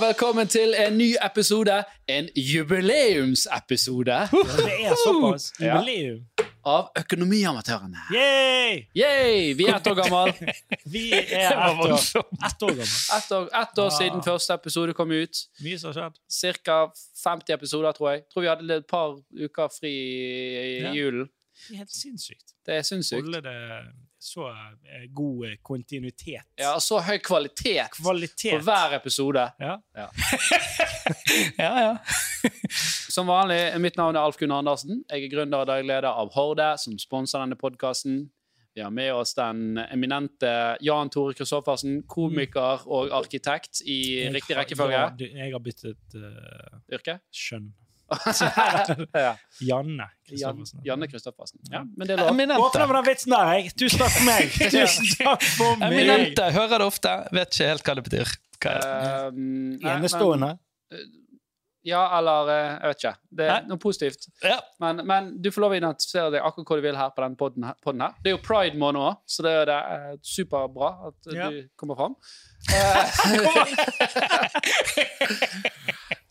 velkommen til en ny episode, en jubileumsepisode Det er såpass. Ja. Jubileum. av Økonomiamatørene. Yay! Yay! Vi er ett år gammel. Vi er ett år, ett år gammel. Ett år, ett år siden første episode kom ut. Mye som har skjedd. Ca. 50 episoder, tror jeg. Tror vi hadde et par uker fri i Ja. julen. Det er helt sinnssykt. Det er sinnssykt. Holde det så eh, god eh, kontinuitet. Ja, så høy kvalitet på Kvalitet. hver episode. Ja. Ja, ja. Som vanlig, mitt navn er Alf Gunnar Andersen. Jeg er gründer og daglig leder av Horde, som sponser denne podkasten. Vi har med oss den eminente Jan Tore Christoffersen, komiker og arkitekt i riktig rekkefølge. Mm. Jeg, har- jeg har byttet eh, Yrke? skjønn. Ja. Janne Jan, Kristoffersen. Janne Christoffersen. Ja, men det er lov. Åpne Eminente. med den vitsen der, jeg! Tusen takk for meg! Tusen takk for meg! Eminente. Hører det ofte, vet ikke helt hva det betyr. Hva er det? Um, nei, men- Enestående. Ja, eller eh, jeg vet ikke. Det Nei. er noe positivt. Ja. Men, men du får lov å identifisere deg akkurat hvor du vil her på den podden her. Podden her. Det er jo pride måned òg, så det er, det er superbra at eh, Ja. du kommer fram.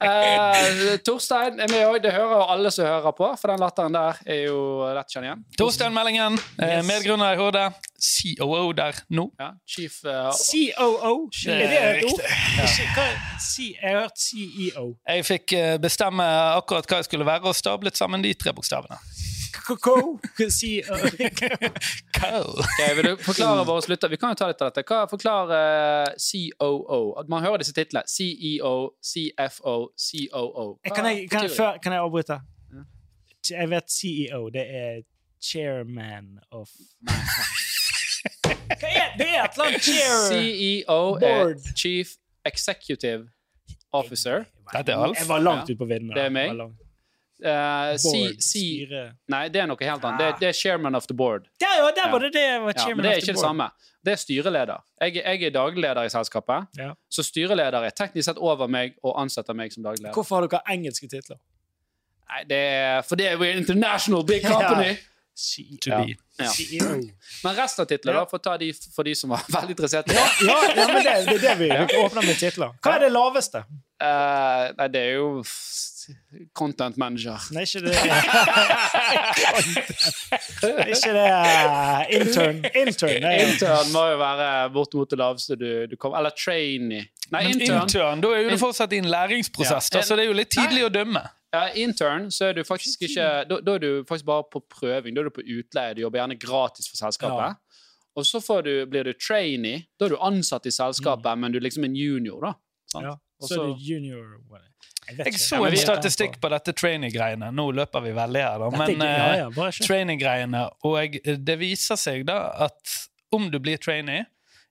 Eh, eh, Torstein er med òg. Det hører jo alle som hører på, for den latteren der er jo lett å kjenne igjen. Torstein Meldingen, eh, Yes. medgrunner i HD. COO der nå. Ja, chief eh, COO. Er det et ord? Hva- C- E Jeg har hørt CEO. Jeg fikk eh, bestemme akkurat hva jeg skulle være, og stablet sammen de tre bokstavene. K-k-k-o. uh, CEO. Cool. Ok, vil du forklare våre slutter? Vi kan jo ta litt av dette. Hva forklarer eh, COO? At man hører disse titlene. E CEO, CFO, COO. Hva Eh, Kan jeg, kan, jeg, betyr det? før, kan jeg avbryte? Ja. Jeg vet CEO, det er chairman of Hva er det? er Et eller annet chair... CEO E er Board. Chief Executive Officer. Dette er Alf. Jeg var langt ute på viddene. Det er meg. Jeg var langt- Eh, C, Board, C, styre. nei, det er noe helt annet. Det, det er Chairman of the Board. Der, ja, der Ja. var det det! jeg var Ja, chairman men det of er the ikke det board. samme. Det er styreleder. Jeg, er- jeg er daglig leder i selskapet, Ja. så styreleder er teknisk sett over meg og ansetter meg som daglig leder. Hvorfor har dere engelske titler? Nei, det er, for det er we're international big company! CEO. To Ja. be. Ja. CEO. Men resten av titlene, da, for å ta de for de som var veldig interessert i det. Ja, ja, men det, det er det vi dere åpner med titler. Hva er det laveste? Eh, nei, det er jo f- content manager. Nei, ikke det Ikke det Intern. Intern. Nei, Intern må jo være bortimot det laveste du, du kommer Eller trainee. Nei, Men intern. intern, da er jo det fortsatt i en læringsprosess, Ja. da, så det er jo litt tidlig å dømme. Ja, intern, så er du faktisk ikke da, da er du faktisk bare på prøving. Da er du på utleie. Du jobber gjerne gratis for selskapet. Og så får du, blir du trainee. Da er du ansatt i selskapet, men du er liksom en junior, da. Sant? Ja. Og Så er så- det junior hva er det? vet Jeg ikke. så Ja, men en vi- statistikk på dette training-greiene. Nå løper vi veldig her, da. Dette er Men ikke- ja, eh, ja, bare kjør. training-greiene. Og det viser seg da at om du blir trainee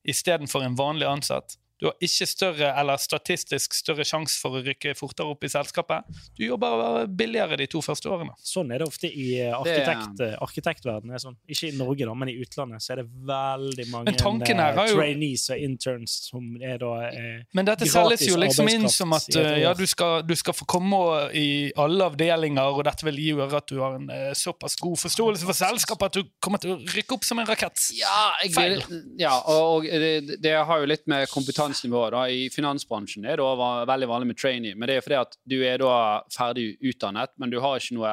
istedenfor en vanlig ansatt Du har ikke større eller statistisk større sjanse for å rykke fortere opp i selskapet. Du jobber billigere de to første årene. Sånn er det ofte i eh, arkitekt, eh, arkitektverden. Er sånn. Ikke i Norge, da, men i utlandet så er det veldig mange Men tanken her eh, har jo- trainees og interns som er da eh, Men dette Gratis selges jo liksom inn arbeidskraft som at i et år. eh, ja, du, skal, du skal få komme i alle avdelinger, og dette vil gjøre at du har en eh, såpass god forståelse for selskapet at du kommer til å rykke opp som en rakett. Ja, jeg vil, ja og, og det, det har jo litt med kompetansenivået da. I finansbransjen er det også va- veldig vanlig med trainee, men det er fordi at du er da ferdig utdannet, men du har ikke noe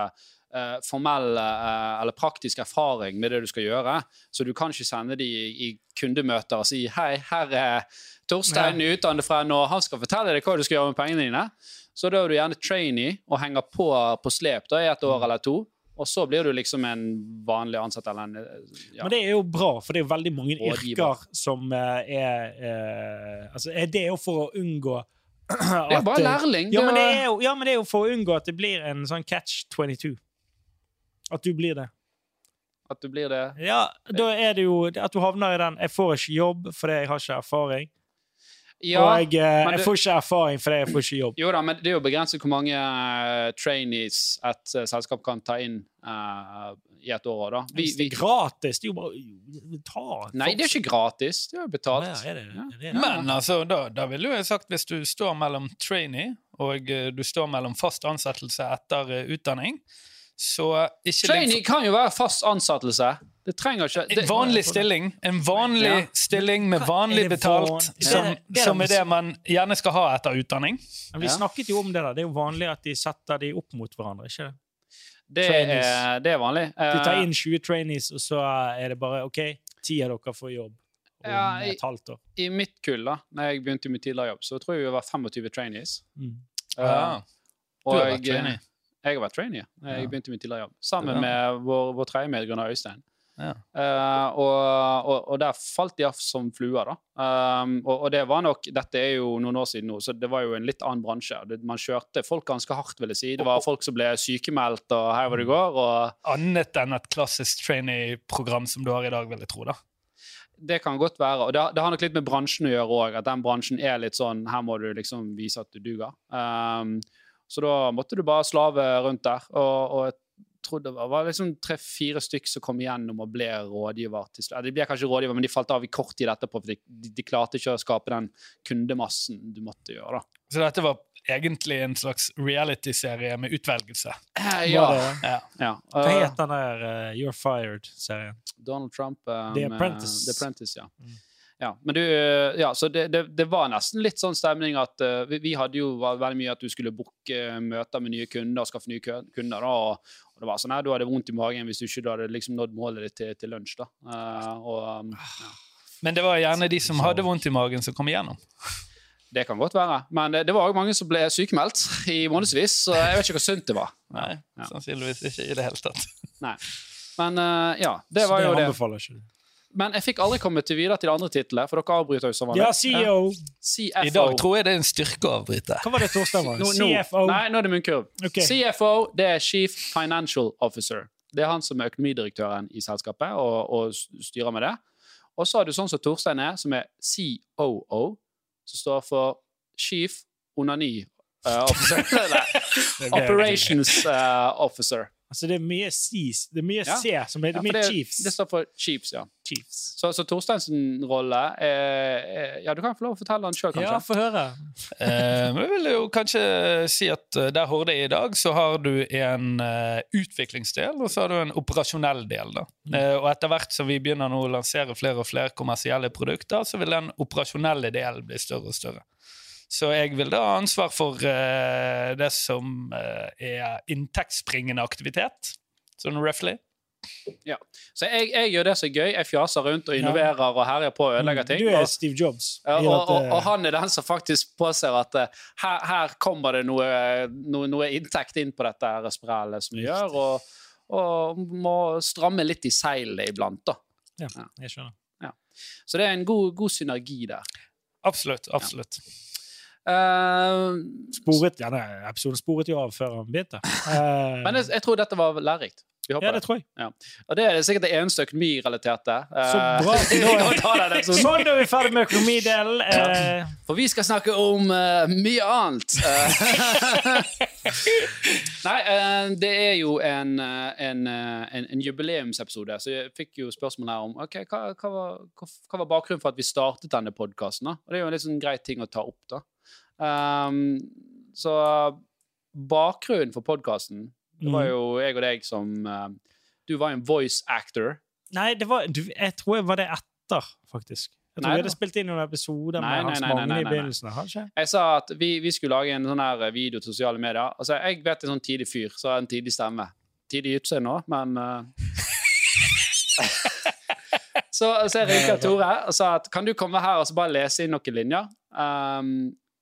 eh, formell eh, eller praktisk erfaring med det du skal gjøre, så du kan ikke sende de i, i kundemøter og si hei, her er Torstein utdannet fra nå, han skal fortelle deg hva du skal gjøre med pengene dine. Så da er du gjerne trainee og henger på på slep da, i et år eller to, og så blir du liksom en vanlig ansatt eller en eh, ja. Men det er jo bra, for det er jo veldig mange Rådgiver. yrker som eh, er eh, altså, er Det er jo for å unngå Det er jo at, bare eh, lærling. Ja men, det er- er jo, ja, men det er jo for å unngå at det blir en sånn catch 22. At du blir det. At du blir det. Ja, da er det jo at du havner i den 'jeg får ikke jobb fordi jeg har ikke erfaring', og Ja, jeg, eh, men 'jeg det- får ikke erfaring fordi jeg får ikke jobb'. jo da, men det er jo begrenset hvor mange eh, trainees et eh, selskap kan ta inn eh, i et år. da. Vi, Hvis det vi, er gratis, det er jo bare ta nei, det er ikke gratis. Det er jo Ja, betalt. er det, Ja. er det, Men altså, da, da ville jo jeg sagt hvis du står mellom trainee og eh, du står mellom fast ansettelse etter eh, utdanning, så ikke din- Trainee kan jo være fast ansettelse. Det Det trenger ikke det, En vanlig stilling. En vanlig Ja. stilling med Hva vanlig er det van- betalt, Er det- som, er det- som er det man gjerne skal ha etter utdanning. Men vi Ja. snakket jo om det der. Det er jo vanlig at de setter de opp mot hverandre. ikke det? det, er, trainees. det er vanlig. Du tar Eh, inn 20 trainees, og så er det bare OK, ti av dere får jobb om Ja, jeg- et halvt år. I mitt kull, da når jeg begynte i min tidligere jobb, så tror jeg vi var 25 trainees. Mm. Eh, du har vært trainee. Jeg eh, har vært trainee. Jeg Ja. begynte i min tidligere jobb. Sammen Ja. med vår, vår tredje medgrunner Øystein. Ja. Eh, og, og, og der falt de av som fluer, da. Um, og, og det var nok Dette er jo noen år siden nå, så det var jo en litt annen bransje. Det, man kjørte folk ganske hardt, vil jeg si. Det var folk som ble sykemeldt, og her hvor det går. Og Annet enn et klassisk trainee-program som du har i dag, vil jeg tro. da. det kan godt være. Og det, har- det har nok litt med bransjen å gjøre òg, at den bransjen er litt sånn Her må du liksom vise at du duger. Um, så da måtte du bare slave rundt der. Og, og jeg tror det var- var liksom tre-fire stykk som kom igjennom og ble rådgiver til slutt. De ble kanskje rådgiver, men de falt av i kort tid etterpå, for de, de, de klarte ikke å skape den kundemassen du måtte gjøre. da. Så dette var egentlig en slags reality-serie med utvelgelse. Eh, Var ja. det- ja. Hva Eh, het den der eh, You're Fired-serien? Donald Trump eh, The med- Apprentice. The Apprentice, ja. Mm. Ja, men du, eh, ja, så det, det, det var nesten litt sånn stemning at eh, vi, vi hadde jo va- veldig mye at du skulle booke eh, møter med nye kunder og skaffe nye kø- kunder. da, og, og det var sånn, nei, Du hadde vondt i magen hvis du ikke hadde liksom nådd målet ditt til, til lunsj. da. Eh, og um, Men det var gjerne de Sånn. som hadde vondt i magen, som kom igjennom. Det kan godt være. Men eh, det, det var òg mange som ble sykemeldt i månedsvis, så jeg vet ikke hvor sunt det var. Nei, Ja. sannsynligvis ikke i det hele tatt. Men eh, ja, det Så var jo det. anbefaler ikke. Men jeg fikk aldri kommet til videre til det andre tittelet, for dere avbryter jo som vanlig. Eh, Ja, CEO! CFO. I dag tror jeg det er en styrke å avbryte. Hva var det torsdag var? Nå- nå- CFO? Nei, nå er det munnkurv. Ok. CFO det er Chief Financial Officer. Det er han som er økonomidirektøren i selskapet og, og s- styrer med det. Og så har du sånn som Torstein er, som er COO, som står for Chief Onani eh, Officer. Nei, Det er- Operations eh, Officer. Altså, det er mye C's. Det er mye Ja. C som er, Ja, det er for mye det, Chiefs. det står for Chiefs, ja. Chiefs. Så, så Torsteins rolle eh, eh, Ja, du kan få lov å fortelle den sjøl, Ja, kanskje. få høre. Eh, men jeg vil jo kanskje si at eh, der Horde er i dag, så har du en eh, utviklingsdel, og så har du en operasjonell del. da. Mm. Eh, og etter hvert som vi begynner nå å lansere flere og flere kommersielle produkter, så vil den operasjonelle delen bli større og større. Så jeg vil da ha ansvar for eh, det som eh, er inntektsbringende aktivitet, sånn roughly. Så jeg, jeg gjør det som er gøy. Jeg fjaser rundt og innoverer og herjer på og ødelegger ting. Mm. Du er og- Steve Jobs. Ja, i og, at, og, eh, og han er den som faktisk påser at eh, her, her kommer det noe, noe, noe inntekt inn på dette her sprellet som vi gjør, og, og må stramme litt i seilene iblant. da. Jeg skjønner. Så det er en god, god synergi der. Absolutt. absolutt. Eh, Sporet, ja, nei, episoden sporet jo av før han begynte. Eh, men jeg, jeg tror dette var lærerikt. Vi håper ja, det det. tror jeg. Og det er sikkert det eneste økonomirelaterte. eh, Så bra. vi kan ta den episoden. Sånn, da er vi ferdig med økonomidelen. Eh, For vi skal snakke om eh, mye annet. Eh, Nei, eh, det er jo en, eh, en, eh, en, en jubileumsepisode, så jeg fikk jo spørsmål her om ok, hva, hva, var, hva, hva var bakgrunnen for at vi startet denne podkasten. Og det er jo en litt sånn grei ting å ta opp, da. Ehm, så bakgrunnen for podkasten Det Mm. var jo jeg og deg som eh, Du var en voice actor. Nei, det var, du, jeg tror jeg var det etter, faktisk. Jeg tror Nei vi da. hadde spilt inn noen episoder Nei, med Hans nei, nei, nei, Magne nei, i nei. begynnelsen. har ikke? Jeg sa at vi, vi skulle lage en sånn her video til sosiale medier. Altså, jeg vet en sånn tidlig fyr som har en tidlig stemme. Tidlig i utseende òg, men eh. Så, så jeg ringte Tore og sa at kan du komme her og så bare lese inn noen linjer? Um,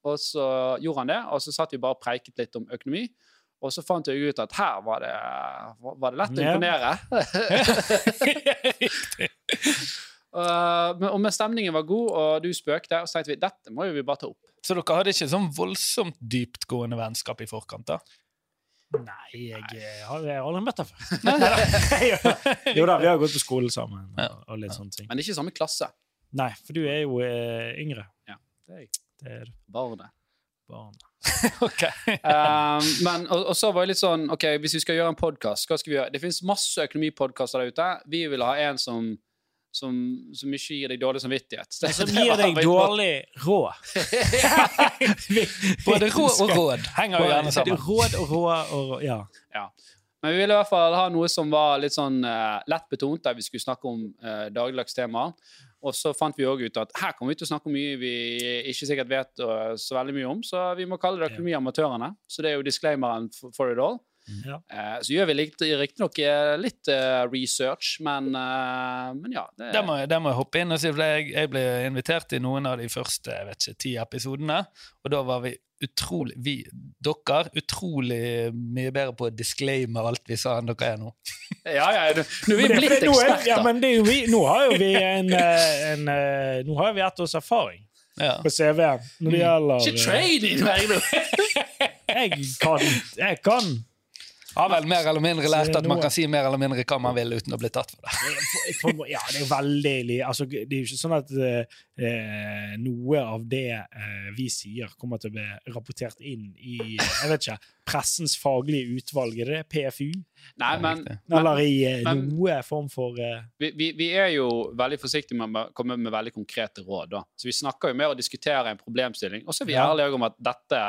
og så gjorde han det, og så satt vi bare og preiket litt om økonomi. Og så fant jeg ut at her var det, var det lett å Ja. imponere. Uh, men- og men stemningen var god, og du spøkte, og så tenkte vi dette må jo vi bare ta opp. Så dere hadde ikke sånn voldsomt dyptgående vennskap i forkant? da? Nei, jeg, eh, har jeg har aldri møtt deg før. Neida. jo da, vi har gått på skolen sammen Ja. og, og litt sånne ting. Men ikke i samme klasse. Nei, for du er jo eh, yngre. Ja, det er jeg. Det er du. Var det. barn. Ok. Um, men, og, og så var jeg litt sånn Ok, hvis vi skal gjøre en podkast, hva skal vi gjøre? Det finnes masse økonomipodkaster der ute. Vi vil ha en som, som, som ikke gir deg dårlig samvittighet. Det- Som det gir var deg vi på. dårlig råd. Både rå og råd henger jo gjerne sammen. Råd og råd og rå- Ja. Men vi ville i hvert fall ha noe som var litt sånn eh, lettbetont, der vi skulle snakke om eh, dagligdagstemaer. Og så fant vi òg ut at her kommer vi til å snakke om mye vi ikke sikkert vet eh, så veldig mye om, så vi må kalle det Økonomiamatørene. Så det er jo disclaimeren for, for it all. Ja. Eh, så gjør vi riktignok litt eh, research, men, eh, men ja. Det, Der må, jeg- der må jeg hoppe inn og si, for jeg, jeg ble invitert i noen av de første jeg vet ikke, ti episodene. Og da var vi utrolig vi, Dere utrolig mye bedre på å disclaime alt vi sa, enn dere er nå. ja, ja, nå nå er Men vi det- blitt for nå er- eksperter. Ja, men det er jo vi, nå har jo vi en, eh, en eh, Nå har vi ett års erfaring Ja. på CV-en når det gjelder Ikke training, Vegard! eh, Jeg kan, jeg kan Har vel mer eller mindre lært at man kan si mer eller mindre hva man vil uten å bli tatt for det. på, på, ja, det er veldig li- altså, Det er jo ikke sånn at eh, noe av det eh, vi sier, kommer til å bli rapportert inn i jeg vet ikke, pressens faglige utvalg. Er det det? PFU? Nei, men Eller i eh, men- noe form for eh, vi, vi, vi er jo veldig forsiktige med å komme med veldig konkrete råd. Da. Så vi snakker jo mer og diskuterer en problemstilling, og så er vi Ja. ærlige om at dette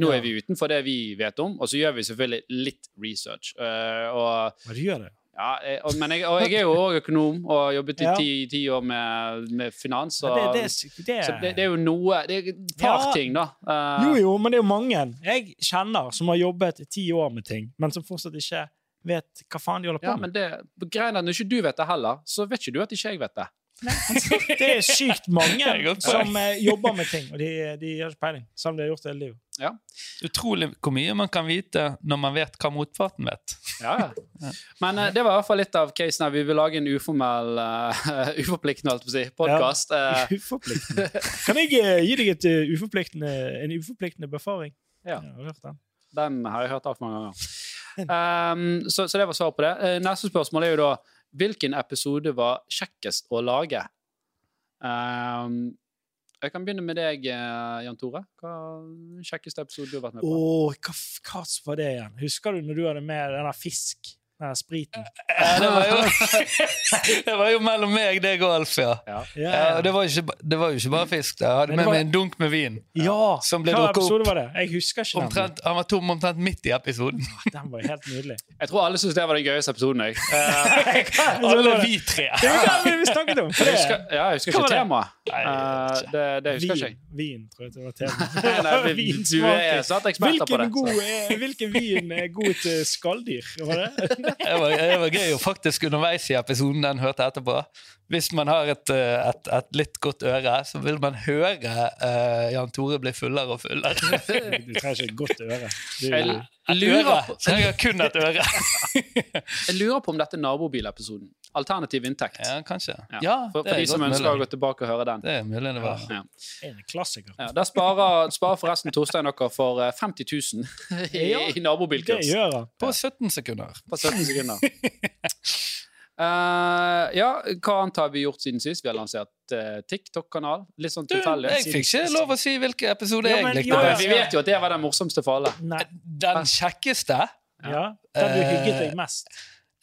nå Ja. er vi utenfor det vi vet om, og så gjør vi selvfølgelig litt research. Eh, og, Hva du gjør det? ja, eh, og, men jeg, og jeg er jo òg økonom og har jobbet i Ja. ti, ti år med, med finans. Ja, Og, det, det, er s- det, så det, det er jo noe Det er et par Ja. ting, da. Eh, Jo, jo, men det er jo mange jeg kjenner som har jobbet ti år med ting, men som fortsatt ikke vet hva faen de holder på ja, men med. det, greien er at Når ikke du vet det heller, så vet ikke du at ikke jeg vet det. Det er sykt mange er et godt poeng. som eh, jobber med ting, og de, de har ikke peiling. Som de har gjort hele livet. Utrolig hvor mye man kan vite når man vet hva motparten vet. Ja. Ja. Men eh, det var i hvert fall litt av casen her. Vi vil lage en uformell, eh, uforpliktende holdt på å si, Eh, podkast. Uforpliktende. Kan jeg eh, gi deg et, eh, uforpliktende, en uforpliktende befaring? Ja. Jeg har hørt den. den har jeg hørt altfor mange ganger. Ehm, så, så det var svaret på det. Eh, neste spørsmål er jo da hvilken episode var kjekkest å lage? Ehm, jeg kan begynne med deg, eh, Jan Tore. Hva er den kjekkeste episode du har vært med på? Åh, hva, f- hva var det igjen? Husker du når du hadde med den der fisk? Den der spriten? Eh, Ja, det, var jo, det var jo mellom meg, deg og Alf, ja. Ja, Ja, eh, og det, var jo ikke, ba- det var jo ikke bare fisk. da. Jeg Men hadde det med var- meg en dunk med vin. ja. Som ble Hva drukket opp episode var det? Jeg husker ikke den. Ah, omtrent, Han var tom omtrent midt i episoden. Den var jo helt nydelig. Jeg tror alle syntes det var den gøyeste episoden. Jeg, Eh, Alle vi tre. Det var det vi snakket om! for jeg det- husker, ja, jeg husker Hva var ikke det? temaet. Nei, jeg Eh, det, det husker ikke jeg. Vin, vin, tror jeg det var temaet. Nei, nei, vi- Vin du er smaker. satt eksperter på Hvilken, det. så- god, eh, hvilken vin er god til skalldyr? Var det? Det var, det var gøy å faktisk underveis i episoden den hørte etterpå. Hvis man har et, eh, et, et litt godt øre, så vil man høre eh, Jan Tore bli fullere og fullere. Du trenger ikke et godt øre. Du, Jeg Et lurer, øre. på, Så jeg har kun et øre. jeg lurer på om dette er nabobilepisoden. Alternativ inntekt. Ja, kanskje. Ja, Ja, for, det for er de som godt ønsker å mulig. gå tilbake og høre den. Det er mulig det var. Ja. en klassiker. Ja, der sparer, sparer forresten Torstein dere for eh, 50 000 i, Ja, i Det nabobilkurs. gjør han. På 17 sekunder. På 17 sekunder. Eh, ja, hva annet har vi gjort siden sist? Vi har lansert eh, TikTok-kanal. Litt sånn Du, tilfeldig. jeg fikk ikke lov å si hvilken episode Ja, jeg men- likte Nei, men best. vi vet jo at det var den morsomste for alle. Nei, Den kjekkeste, ja. Den du Eh, hygget deg mest.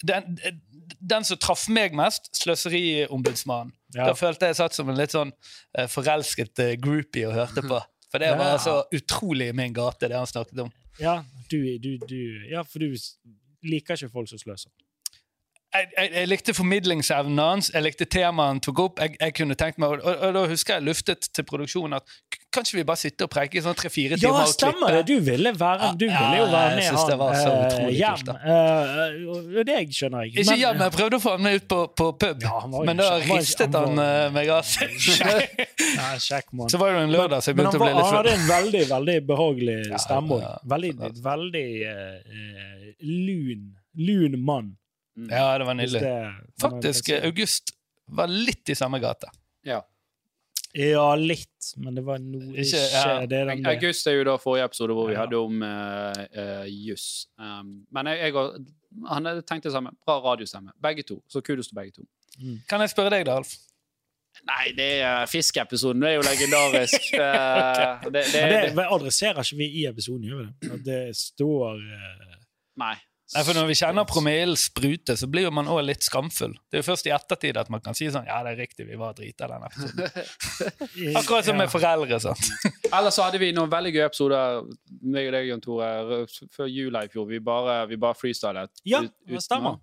den, den som traff meg mest, Sløseriombudsmannen. Ja. Da følte jeg satt som en litt sånn eh, forelsket eh, groupie og hørte på. For det var Ja. altså utrolig i min gate, det han snakket om. Ja, du, du, du, ja, for du s- liker ikke folk som sløser. Jeg, jeg, jeg likte formidlingsevnen hans, jeg likte temaet han tok opp. Jeg, jeg kunne tenkt meg, og, og, og da husker jeg luftet til produksjonen at k- kan ikke vi bare sitte og preike i sånn tre-fire timer Ja, og klippe? stemmer det! Du ville, være, du Ja, ville jo være jeg med synes det var så eh, utrolig hjem. kult, da. Eh, og- og det skjønner jeg. Ikke hjem, jeg prøvde å få ham med ut på, på pub, Ja, han var jo men da ikke- han var jo ikke- ristet han han var- eh, meg av seg. Ja, kjekk mann. Så var det jo en lørdag, så jeg Men han, begynte å var, bli litt han hadde full. en veldig veldig behagelig stemme. ja, også. veldig veldig eh, eh, lun, lun mann. Mm. Ja, det var hvis nydelig. det- Faktisk, eh, August var litt i samme gate. Ja. Ja, litt, men det var noe Ikke- ikke, ja. det den ble. August er jo da forrige episode hvor vi Ja. hadde om eh, eh, juss. Um, men jeg, jeg og han tenkte det samme. Bra radiostemme. Begge to. Så kudos til begge to. Kan jeg spørre deg, da, Alf? Nei, det er eh, fiskeepisoden. Det er jo legendarisk. Eh, det, det, Men det, det adresserer ikke vi i episoden, gjør vi det? At det står eh, nei. Nei, for Når vi kjenner promillen sprute, så blir jo man òg litt skamfull. Det er jo først i ettertid at man kan si sånn Ja, det er riktig, vi var drita den episoden. Akkurat som med foreldre. sant? Ellers så hadde vi noen veldig gøye episoder meg og deg, Jon Tore, r- før jula i fjor. Vi bare, vi bare freestylet. Ja, ut- det utenom. stemmer.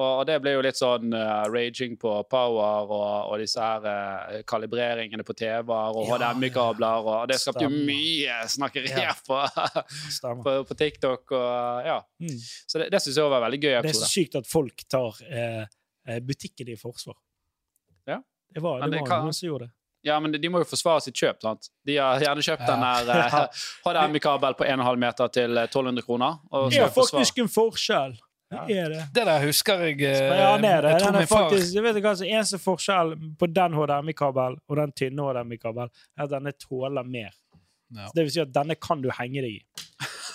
Og, og det ble jo litt sånn eh, raging på power og, og disse her eh, kalibreringene på TV-er og Ja, HDMI-kabler, og det skapte jo Stemmer. mye snakkeri Ja. på, Stemmer. på, på TikTok og ja. Mm. Så det, det syns jeg var en veldig gøy Det er så episode. sykt at folk tar eh, eh, butikken i forsvar. Ja. Det var, Men det det var kan- noen som gjorde det. Ja, men de, de må jo forsvare sitt kjøp, sant. De har gjerne kjøpt den Ja. der eh, HDMI-kabel på 1,5 meter til eh, 1200 kroner. Og Det så er forsvare. faktisk en forskjell. Det er det. Det der husker jeg eh, Men ja, det er det. Jeg tror Den er min far faktisk, jeg vet ikke hva som er eneste forskjell på den HDMI-kabel og den tynne HDMI-kabel, er at denne tåler mer. Ja. Så Det vil si at denne kan du henge deg i.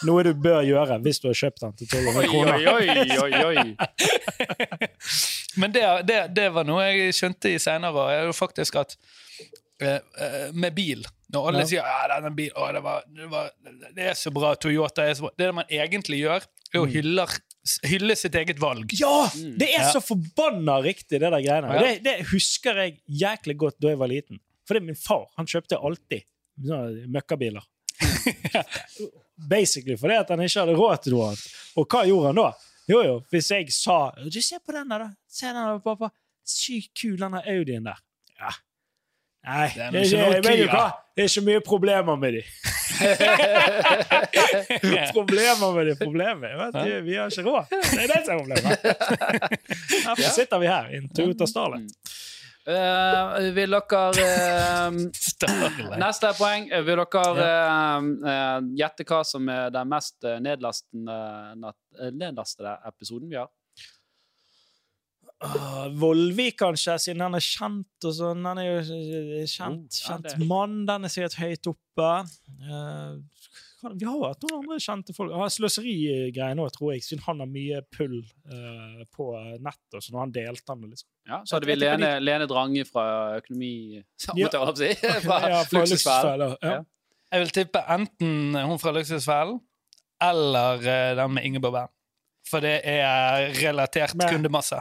Noe du bør gjøre hvis du har kjøpt den til 1200 Oi, kroner. oi, oi, oi, oi. Men det, det, det var noe jeg skjønte i senere, er jo faktisk at eh, eh, med bil Når alle Ja. sier ja, denne bil, å, det, var, det, var, det er så bra, Toyota er så bra Det man egentlig gjør, er å Mm. hylle, hylle sitt eget valg. Ja! Mm. Det er Ja. så forbanna riktig, det der greiene. Og Ja. Det, det husker jeg jæklig godt da jeg var liten. For det er min far. Han kjøpte alltid sånne møkkabiler. Basically fordi at han ikke hadde råd til noe annet. Og hva gjorde han da? Jo, jo, hvis jeg sa Du, se på den der, da. Se den der, pappa. Sykt kul, den der Audien der. Ja. Nei, det Den er er, ikke ikke, noe vet du Kia. hva? Det er ikke mye problemer med de. problemer med de problemer. Jeg Vet, du, vi har ikke råd. Det er det som er problemet. Derfor sitter vi her i en Toyota Mm. Starlet. Eh, vil dere eh, Starlet. Neste poeng. eh, Vil dere eh, eh, gjette hva som er den mest eh, nedlastende, nat- eh, nedlastede episoden vi har? Åh, Ah, Vollvik, kanskje, siden han er kjent og sånn. Han er jo eh, kjent, Oh, ja, kjent det- mann. Den er sikkert høyt oppe. Eh, hva- vi har jo hatt noen andre kjente folk. Ah, Sløserigreiene òg, tror jeg, siden han har mye pull eh, på nettet. Så når han delte han det, liksom. Ja, så hadde vi Jeg tenker på Lene, Lene Drange fra Økonomi Måtte Ja. jeg holde på å si! Fra Ja, fra Luksusfellen. Luksusfellen, Ja. Ja. Jeg vil tippe enten hun fra Luksusfellen eller eh, den med Ingeborg Bern. For det er relatert Men- kundemasse.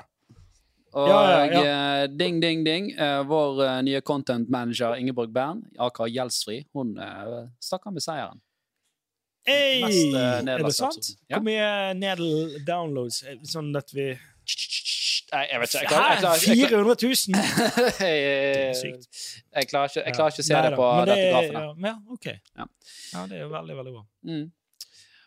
Og Ja, ja, eh, ding, ding, ding. eh, vår eh, nye content manager Ingeborg Bern, aka Gjeldsfri, hun eh, stakk av med seieren. Hey, Mest, eh, er det nedlastede sant? episoden. Ja. Hvor mye nedl downloads? eh, Sånn at vi Nei, jeg vet ikke. Jeg klarer- jeg Hæ? klarer- jeg klarer- 400 000? jeg, Sykt. jeg, klarer ikke, jeg klarer ikke å se Nei det da, på men dette er- grafen. her. Ja, ja, ok. Ja. Ja, det er jo veldig, veldig bra. Mm.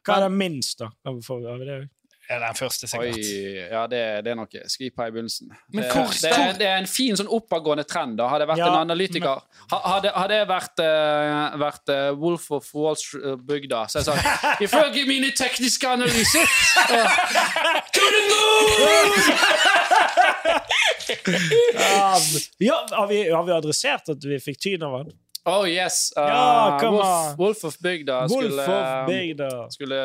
Hva er det minst, da? Kan vi få av det? Er den første, sikkert. Oi, ja, det, det er noe. Skvipa i begynnelsen. Men det, hvor- det, er, det er en fin sånn oppadgående trend. da. Hadde jeg vært Ja, en analytiker ha- Hadde, hadde jeg vært, eh, vært eh, Wolf of Wall Street-bygda, så hadde jeg sagt Ifølge mine tekniske analyser Ja, ja, har, vi, har vi adressert at vi fikk tyn av han? Oh yes! eh, Ja, come on. Wolf, Wolf of bygda Wolf skulle, um, of Bygda. skulle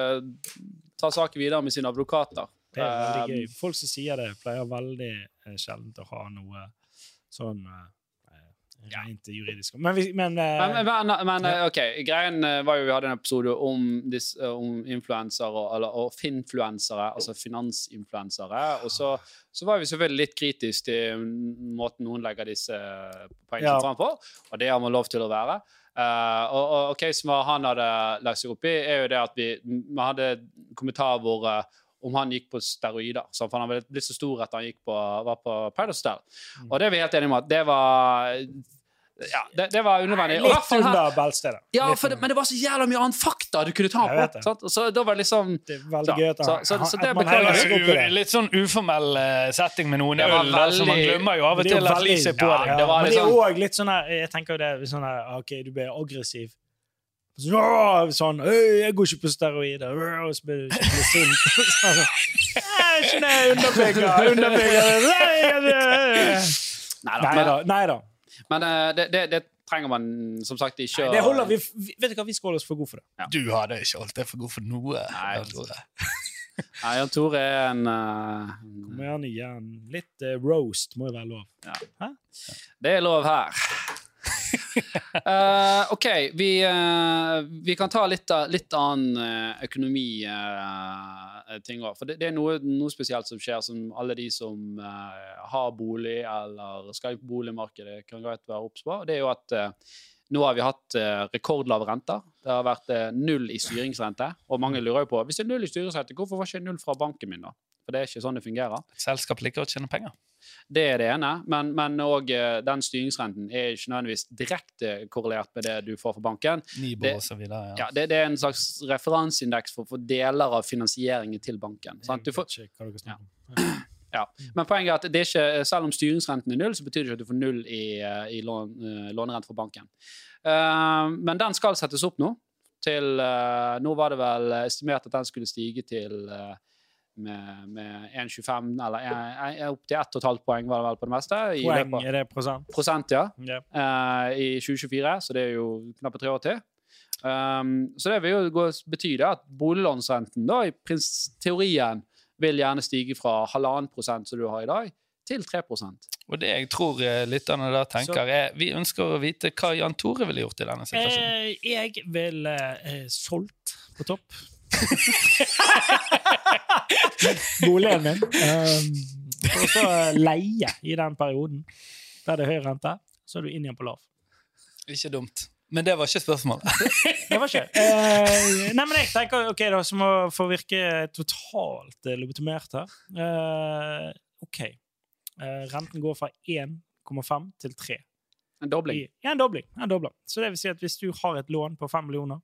ta saken videre med sine advokater. Det er veldig Eh, gøy. Folk som sier det, pleier veldig eh, sjelden å ha noe sånn eh, eh, rent juridisk Men, vi, men, eh, Men, men, men, men ok, greien eh, var jo vi hadde en episode om, dis- eh, om influensere og- eller- og finfluensere, altså finansinfluensere. Og så, så var vi selvfølgelig litt kritiske til mm, måten noen legger disse eh, poengene Ja. fram på, og det har man lov til å være. Eh, og, og ok, som han hadde lagt seg opp i, er jo det at vi, vi hadde kommentarer hvor eh, om han gikk på steroider. Så for han hadde blitt så stor at han gikk på, var på Paradise Hotel. Mm. Og det er vi helt enige om at det var ja, det, det var unødvendig. Og i hvert Litt fall her- under beltestedet. ja, Litt for det, under. men det var så jævla mye annen fakta du kunne ta Jeg vet på. det. Sant? Og Så da var det liksom Det er veldig gøy at, Så- han, så- så det at man beklager heller jeg. seg opp i det. Litt sånn uformell eh, setting med noen Det var øl, da, så man veldig- glemmer jo av og Det er jo til at veldig- lyset er på ja, deg. ja. Det var men det er liksom- òg litt sånn her Jeg tenker jo det er sånn her OK, du blir aggressiv. Så, «Åh», sånn «Øy, 'Jeg går ikke på steroider.' «Åh», Og så blir du skikkelig sint. Sånn. «Nei, ikke det, Underbygger, underbygger Nei, jeg- jeg- Nei da. Nei Men, da. Nei da. men eh, det, det, det trenger man som sagt ikke å Det holder vi vi- Vet du hva, vi skal holde oss for gode for det. Du hadde ikke holdt deg for god for noe. Nei. Jan Tore. Nei, Jan Tore er en eh, Må gjerne gi han litt eh, roast, må jo være lov. Det er lov her. Eh, OK, vi, eh, vi kan ta litt, av- litt annen eh, økonomiting òg. For det, det er noe, noe spesielt som skjer, som alle de som eh, har bolig eller skal i boligmarkedet, kan greit være obs på. Det er jo at eh, nå har vi hatt eh, rekordlave renter. Det har vært eh, null i styringsrente. Og mange lurer jo på hvis det er null i styringsrente, hvorfor var ikke det null fra banken min, da? For det er ikke sånn det fungerer. Selskapet liker å tjene penger. Det er det ene, men, men og, eh, den styringsrenten er ikke nødvendigvis direkte korrelert med det du får fra banken. Nibo Det- og så videre. Ja. Ja, det, det er en slags referanseindeks for, for deler av finansieringen til banken. Sant? Du får, Jeg vet ikke hva dere snakker om. men poenget er at det er ikke, selv om styringsrenten er null, så betyr det ikke at du får null i, eh, i lån, eh, lånerente fra banken. Eh, men den skal settes opp nå. Til, eh, nå var det vel estimert at den skulle stige til eh, med, med 1,25 eller eh, eh, opp til 1,5 poeng var det vel på det meste. i Poeng, løpet av- er det prosent? Prosent, ja. Ja. eh, i 2024, så det er jo knappe tre år til. Um, så det vil jo gå, bety det at boliglånsrenten da, i prins teorien vil gjerne stige fra halvannen prosent som du har i dag, til 3 Og det jeg tror eh, lytterne da tenker, er vi ønsker å vite hva Jan Tore ville gjort i denne situasjonen. Eh, jeg vil eh, solgt på topp. Boligen min. Eh, og så leie i den perioden der det er høy rente. Så er du inn igjen på lav. Ikke dumt. Men det var ikke spørsmålet. Det var ikke. Eh, nei, men jeg tenker ok da, som å få virke totalt eh, lobotomert her. Eh, ok. Eh, renten går fra 1,5 til 3. En dobling. I, ja, en dobling. En dobler. Så det vil si at hvis du har et lån på 5 millioner,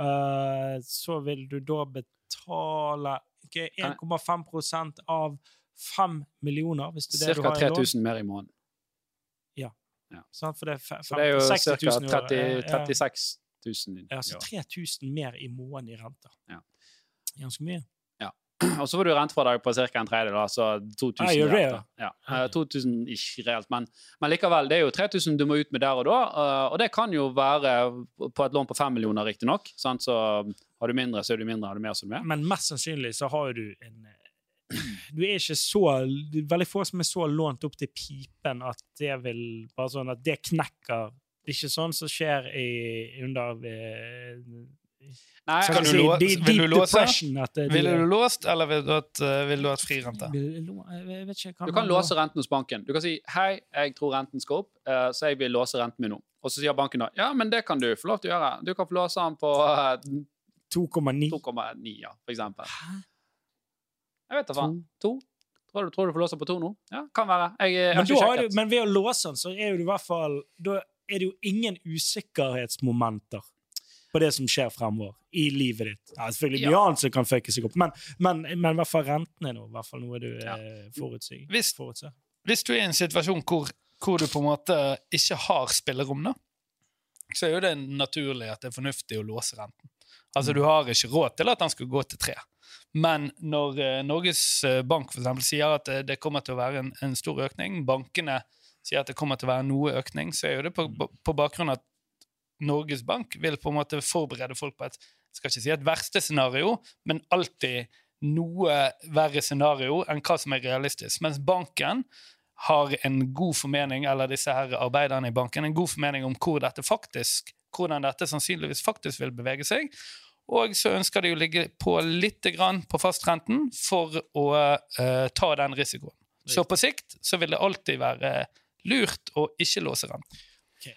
eh, så vil du da betale ok, 1,5 av 5 millioner. Hvis det er det du Ca. har i lån. 3000 mer i måneden. Sant? For det er fe- Så det er jo 50 ca. 60 000 i året. Ja, ja. 36 000. i Ja, så år. 3000 mer i måneden i renter. Ja. Ganske mye. Og så får du rentfradrag på ca. en tredjedel, altså 2000. Ah, gjør det, der, da. ja. Eh, 2000 ikke reelt, men, men likevel, det er jo 3000 du må ut med der og da. eh, Og det kan jo være på et lån på 5 millioner, riktignok. Så har du mindre, så er du mindre. Har du mer, så er du mer. Men mest sannsynlig så har jo du en eh, Du er ikke så det er Veldig få som er så lånt opp til pipen at det vil Bare sånn at det knekker. Det er ikke sånn som skjer i, under eh, Nei, skal kan vi altså, si, du lå- de- vil deep du låse? depression, at det- Ville du låst, eller ville du hatt, eh, ville du hatt fri rente? Vil- lå- Jeg vet ikke, du kan man låse renten hos banken. Du kan si 'hei, jeg tror renten skal opp, eh, så jeg vil låse renten min nå'. Og så sier banken da 'ja, men det kan du få lov til å gjøre'. Du kan få låse den på eh, 2,9. 2,9, ja, for eksempel. Hæ? Jeg vet da To? faen. To? Tror du, tror du får låse på to nå? Ja, kan være. Jeg, jeg har Men, ikke da har sjekket. du, men ved å låse den, så er jo det i hvert fall Da er det jo ingen usikkerhetsmomenter på det som skjer fremover i livet ditt. Ja, selvfølgelig mye annet som kan fucke seg opp, men, men, men i hvert fall renten er nå i hvert fall noe du Ja. eh, forutsier. Hvis- forutser. hvis du er i en situasjon hvor, hvor du på en måte ikke har spillerom, da, så er jo det naturlig at det er fornuftig å låse renten. Altså, Du har ikke råd til at den skal gå til tre. Men når eh, Norges eh, Bank for eksempel, sier at eh, det kommer til å være en, en stor økning, bankene sier at det kommer til å være noe økning, så er jo det på, på- på bakgrunn av at Norges Bank vil på en måte forberede folk på et jeg skal ikke si et verste scenario, men alltid noe verre scenario enn hva som er realistisk. Mens banken har en god formening, eller disse her arbeiderne i banken, en god formening om hvor dette faktisk, hvordan dette sannsynligvis faktisk vil bevege seg. Og så ønsker de å ligge på litt grann på fastrenten for å eh, ta den risikoen. Så på sikt så vil det alltid være lurt å ikke låse renten.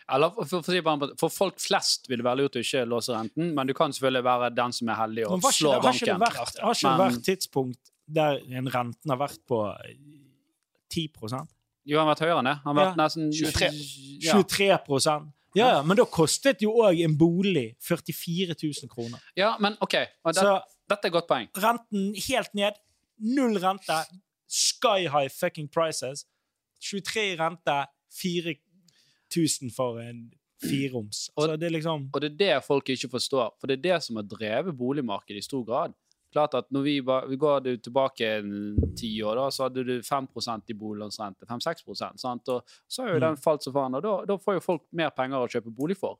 Eller for, for, å si det på en måte, for folk flest vil det være lurt å ikke låse renten, men du kan selvfølgelig være den som er heldig Men og har ikke, slår det- har ikke det banken. vært, har ikke det Men- vært tidspunkt der en renten har vært på eh, 10 Jo, han har vært høyere enn det. Han har vært Ja. nesten 23. Ja. 23 ja. ja, men da kostet jo òg en bolig 44 000 kroner. ja, men OK. Og det, Så dette er et godt poeng. renten helt ned. Null rente. Sky high fucking prices. 23 i rente. 4000 for en fireroms. Altså, det er liksom Og det er det folk ikke forstår, for det er det som har drevet boligmarkedet i stor grad. Klart at når vi, ba, vi går du tilbake en ti år, da, så hadde du 5 i boliglånsrente. 5-6 sant? Og så har jo den falt som faen, og da, da får jo folk mer penger å kjøpe bolig for.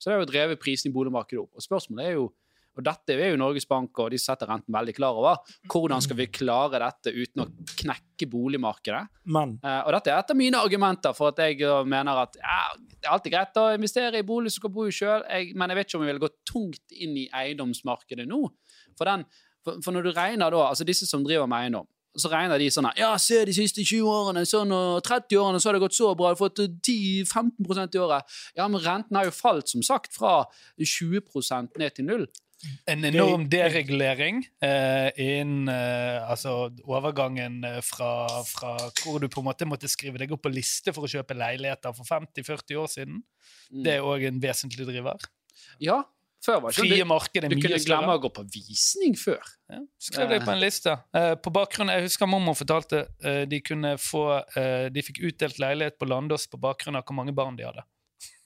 Så det har jo drevet prisen i boligmarkedet opp. Og spørsmålet er jo, og dette er jo Norges Bank, og de setter renten veldig klar over, hvordan skal vi klare dette uten å knekke boligmarkedet. Men Eh, og dette er et av mine argumenter for at jeg eh, mener at ja, det er alltid greit å investere i bolig som kan bo i sjøl, men jeg vet ikke om vi vil gå tungt inn i eiendomsmarkedet nå. For, den, for, for når du regner da, altså disse som driver med eiendom, så regner de sånn her, ja, se de siste 20 årene, sånn, og 30 årene, så har det gått så bra, du har fått eh, 10-15 i året. Ja, men renten har jo falt, som sagt, fra 20 ned til null. En enorm deregulering eh, innen eh, altså overgangen eh, fra, fra hvor du på en måte måtte skrive deg opp på liste for å kjøpe leiligheter for 50-40 år siden. Mm. Det er òg en vesentlig driver. Ja, før var det Frie sånn. marked Du, er du mye kunne glemme større. å gå på visning før. Ja, Skriv deg på en liste. Eh, på bakgrunn, Jeg husker mormor fortalte eh, de kunne få, eh, de fikk utdelt leilighet på Landås på bakgrunn av hvor mange barn de hadde.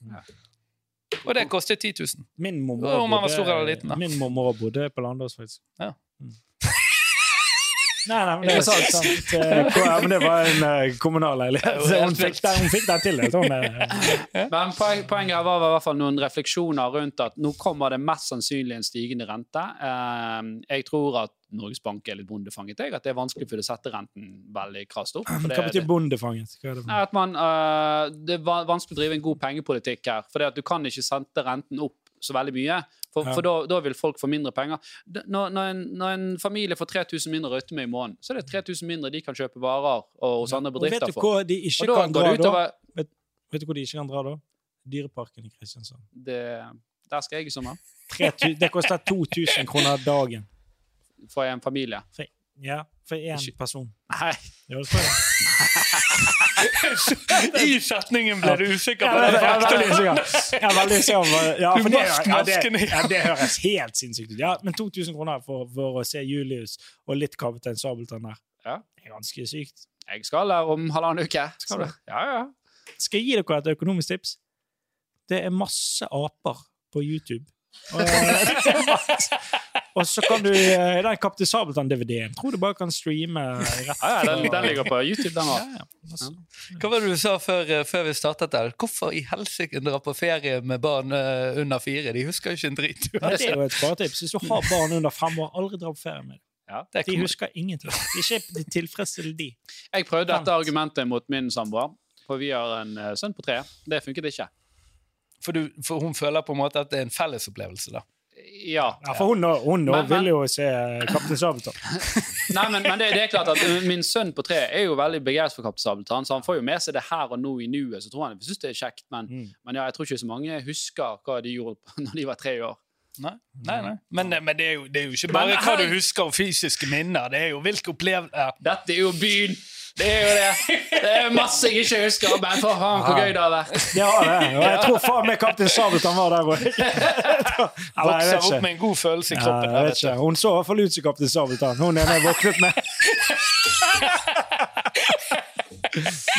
Ja. Og det kostet 10 000. min Ja, om han var mormor stor eller liten, da. min mormor bodde på Landås, faktisk. Ja. Mm. Nei, nei, men det, Er er det sant. sant? Eh, ko- ja, men det var en eh, kommunal Det er leilighet. jo Så Hun helt fikk vilt. den, hun fikk den til. Jeg tror hun, eh, Men poen, poenget her var i hvert fall noen refleksjoner rundt at nå kommer det mest sannsynlig en stigende rente. Eh, Jeg tror at Norges Bank er litt bondefanget, jeg, at det er vanskelig for å sette renten veldig krast opp. For det, Ehm, hva betyr det, bondefanget? Hva er det for Nei, noe? at man, eh, det er va- vanskelig å drive en god pengepolitikk her, for du kan ikke sette renten opp så veldig mye. For, Ja. for da, da vil folk få mindre penger. D- Når, når, en, når en familie får 3000 mindre å rutte med i måneden, så er det 3000 mindre de kan kjøpe varer og hos andre Og vet bedrifter du for. hvor de Og ikke da kan går dra det da? utover Vet du hvor de ikke kan dra da? Dyreparken i Kristiansand. det, Der skal jeg i sommer. 3000 Det koster 2000 kroner dagen. Får jeg en familie. Ja, for én Ikke- person. Nei. Ja, det tror jeg. I setningen ble du usikker Ja, på det det. er- jeg er faktum. veldig usikker. Jeg er veldig usikker på- ja, Du for det, mask- ja, det, masken i. ja, det høres helt sinnssykt ut. Ja, men 2000 kroner for, for å se Julius og litt Kaptein Sabeltann der, Ja. det er ganske sykt. Jeg skal der om halvannen uke. Skal du? Så- Ja, ja. Skal jeg gi dere et økonomisk tips? Det er masse aper på YouTube. Og, og så kan du eh, den Kaptein Sabeltann-DVD-en tror du bare kan streame rett ja, ja den, den ligger på YouTube, den Ja, òg. ja, masse. Hva var det du sa før, eh, før vi startet der? Hvorfor i helsike dra på ferie med barn eh, under fire? De husker jo ikke en drit. Ja, det er jo et sparetips. Hvis du har barn under fem år, aldri dra på ferie med dem. Det De kommer- husker ingenting. Ikke de tilfredsstiller de. Jeg prøvde Sant. dette argumentet mot min samboer, for vi har en eh, sønn på tre. Det funket ikke. for, du, for hun føler på en måte at det er en fellesopplevelse, da. Ja. Ja, for hun, nå- hun nå Men- men- vil jo se eh, Kaptein Sabeltann. Nei, men, men det, det er klart at eh, min sønn på tre er jo veldig begeistret for Kaptein Sabeltann, så han får jo med seg det her og nå i nuet, så tror han synes det er kjekt, men, Mm. men ja, jeg tror ikke så mange husker hva de gjorde på- når de var tre år. Nei, nei, nei. Men, eh, men det, er jo, det er jo ikke Men bare hva her- du husker om fysiske minner, det er jo hvilke opplevelser Dette er jo byen! Det er jo det! Det er masse jeg ikke husker, men for faen, Ah. hvor gøy det har vært! Ja, det. er. Og jeg tror faen meg Kaptein Sabeltann var der òg. vokser opp med en god følelse i kroppen. jeg her, vet vet du. ikke. Hun så i hvert fall ut som Kaptein Sabeltann. Hun ene jeg våknet med.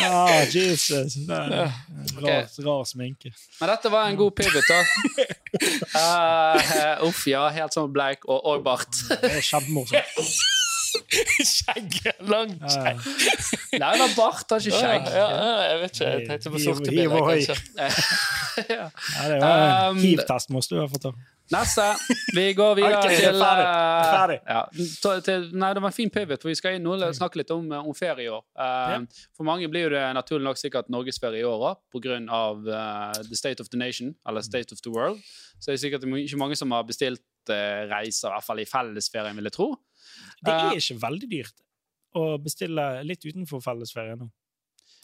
Ah, Jesus. Nei, Rar, rar sminke. Men dette var en god pivot, da. Eh, uff, ja. Helt sånn bleik og, og bart. Det er kjempemorsomt. Skjegget, langt Ja, skjegg. Nei, det var bart, har ikke skjegg. Ja, ja, jeg vet ikke, jeg tenkte på Hiv- sorte hiv biler, og høy. kanskje. Ja, det var en Um, hiv-test måtte du i hvert fall ta. Neste. Vi går videre Ok, til ferdig. eh, Ferdig. Ja, ta- til, nei, det var en fin pivot, for vi skal inn nå og snakke litt om, eh, om ferie i år. Eh, For mange blir jo det naturlig nok sikkert norgesferie i år òg, pga. eh, The State of the Nation, eller State of the World. Så det er sikkert ikke mange som har bestilt eh, reiser, i hvert fall i fellesferien, vil jeg tro. Det er ikke veldig dyrt å bestille litt utenfor fellesferie nå.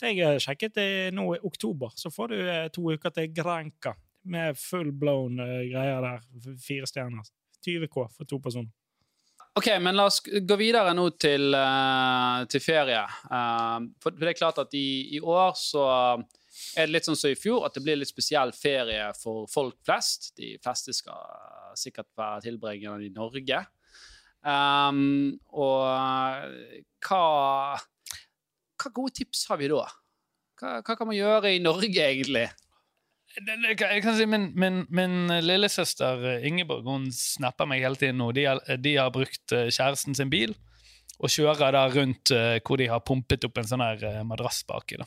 Jeg har sjekket det nå i oktober, så får du eh, to uker til Granca med full-blown eh, greier der. f- Fire stjerner. 20K for to personer. Ok, men la oss gå videre nå til, eh, til ferie. Eh, for for det er klart at i, i år så er det litt sånn som i fjor, at det blir litt spesiell ferie for folk flest. De fleste skal sikkert være tilbringende i Norge. Ehm, og eh, hva, hva gode tips har vi da? Hva, hva kan man gjøre i Norge, egentlig? Det- det kan- Jeg kan si, min, min, min lillesøster eh, Ingeborg hun snapper meg hele tiden nå. De har, de har brukt eh, kjæresten sin bil og kjører da rundt eh, hvor de har pumpet opp en sånn her eh, madrass baki. da.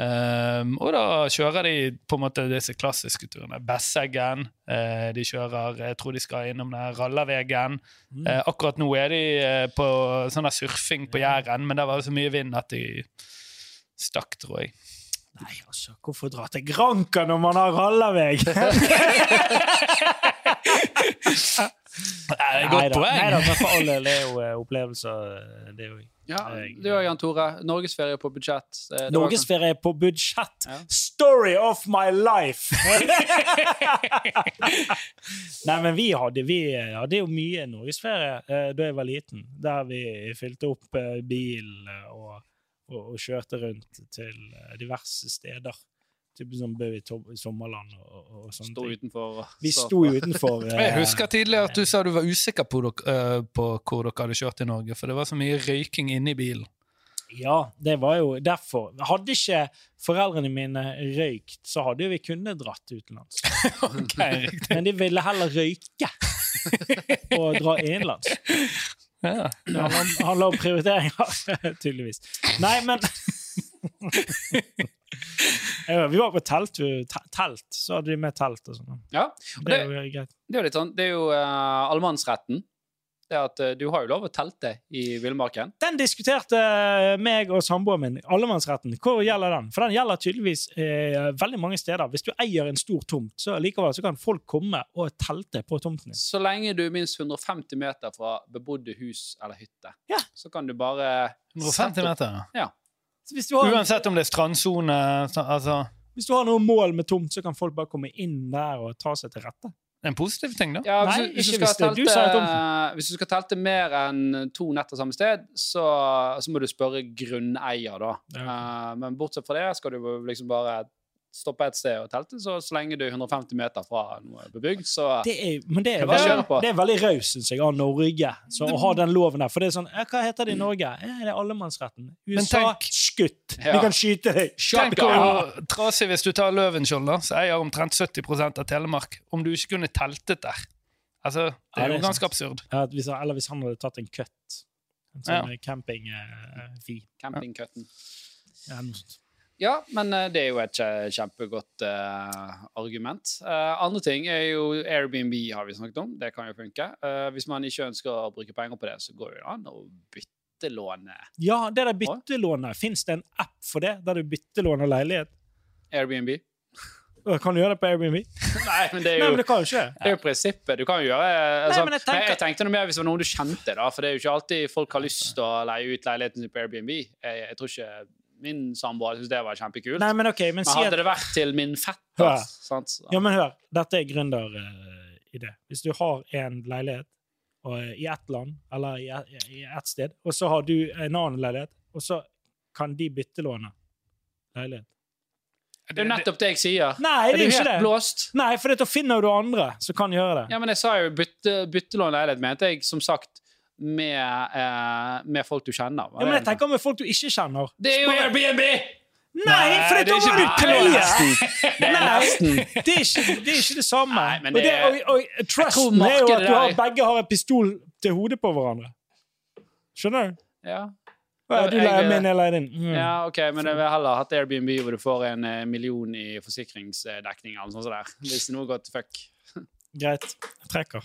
Ehm, og da kjører de på en måte disse klassiske turene. Besseggen, eh, de kjører Jeg tror de skal innom den her Rallavegen. Mm. Eh, akkurat nå er de eh, på sånn her surfing på Jæren, men der var det så mye vind at de stakk, tror jeg. Nei, altså, hvorfor dra til Granka når man har rallaveg? Eh, godt poeng! Nei da, men for alle det er jo eh, opplevelser, eh, det òg. Ja, du og Jan Tore. Norgesferie på budsjett. Eh, det var kanskje- Norgesferie på budsjett. Ja. Story of my life! Nei, men vi hadde, vi hadde jo mye norgesferie eh, da jeg var liten, der vi fylte opp eh, bilen og, og, og kjørte rundt til eh, diverse steder. Typ som Bø i Tom- Sommerland og, og- og sånne Sto ting. utenfor. Vi så- sto utenfor eh, Jeg husker tidligere at du sa du var usikker på, dok- eh, på hvor dere hadde kjørt i Norge, for det var så mye røyking inni bilen. Ja, det var jo derfor. Hadde ikke foreldrene mine røykt, så hadde jo vi kunnet dratt utenlands. Ok, riktig. Men de ville heller røyke og dra innenlands. Ja. Det handler om- handler om prioriteringer, tydeligvis. Nei, men Ja, Vi var på telt, vi- te- telt, så hadde vi med telt og sånn. Ja. Det er jo greit. Det er jo litt sånn, det er jo eh, allemannsretten. Det er at eh, Du har jo lov å telte i villmarken. Den diskuterte eh, meg og samboeren min, allemannsretten. Hvor gjelder den? For den gjelder tydeligvis eh, veldig mange steder. Hvis du eier en stor tomt, så likevel så kan folk komme og telte på tomten din. Så lenge du er minst 150 meter fra bebodde hus eller hytte, Ja. så kan du bare 150 meter. Så hvis du har Uansett om det er strandsone så- altså, Hvis du har noe mål med tomt, så kan folk bare komme inn der og ta seg til rette. Det er en positiv ting, da. ja, hvis, Nei, du- hvis, ikke du skal hvis det- du telte- eh, sa hvis du skal telte mer enn to netter samme sted, så, så må du spørre grunneier, da. Eh, men bortsett fra det skal du liksom bare stoppe et sted og telte, så, så lenge du er 150 meter fra noe bebygd, så Det er, men det er, Kan bare veldig- kjøre på. det er veldig raust, syns jeg, av Norge så, å ha den loven der. For det er sånn ja, Hva heter det i Norge? Ja, det er allemannsretten. USA tenk- skutt! Ja. Vi kan skyte deg! Tenk Ja. hvor trasig hvis du tar Løvenskiold, da, så eier omtrent 70 av Telemark. Om du ikke kunne teltet der. Altså, Det Ja, er det jo er ganske sant. absurd. Ja, at hvis, han- eller hvis han hadde tatt en cut. En sånn eh, ja. campingfi. campingcutten. Ja, noe sånt. Ja, men eh, det er jo et kje- kjempegodt eh, argument. Eh, andre ting er jo Airbnb, har vi snakket om. Det kan jo funke. Eh, hvis man ikke ønsker å bruke penger på det, så går det jo an å eh, byttelåne ja det der byttelånet. Fins det en app for det, der du byttelåner leilighet? Airbnb. Og Kan du gjøre det på Airbnb? Nei, men det er Nei, jo men det kan jo ikke. det er jo prinsippet. Du kan jo gjøre eh, altså, men jeg, jeg tenker- jeg, tenkte noe mer hvis det var noen du kjente, da. For det er jo ikke alltid folk har lyst til å leie ut leiligheten sin på Airbnb. Jeg, jeg tror ikke min samboer syntes det var kjempekult. Nei, men ok, men Men si at hadde det vært til min Hør. fetter sant? så- Ja, men hør, dette er gründeridé. Hvis du har en leilighet og, eh, i ett land, eller i, et- i ett sted, og så har du en annen leilighet, og så kan de byttelåne leilighet. Det er jo nettopp det jeg sier. Nei, det er du jo ikke helt det! blåst? Nei, for da finner du andre som kan gjøre det. Ja, men jeg sa jo bytte, byttelån leilighet, mente jeg, som sagt, med, eh, med folk du kjenner. Ja, men jeg tenker med folk du ikke kjenner. Det er jo Airbnb! Nei, for Nei, da må det er du ikke- Nei, pleie! Det er Nei. nesten. Det er ikke det, er ikke det samme. Nei, men og, det er- det, og, og trusten er jo markedet at du har, der- begge har en pistol til hodet på hverandre. Skjønner du? Ja. Ja, Ja, du jeg- leier min, jeg leier din. Mm. ja, OK, men jeg vil heller hatt Airbnb hvor du får en eh, million i forsikringsdekning eller noe sånt. der. Hvis noe går til fuck. Greit. Jeg trekker.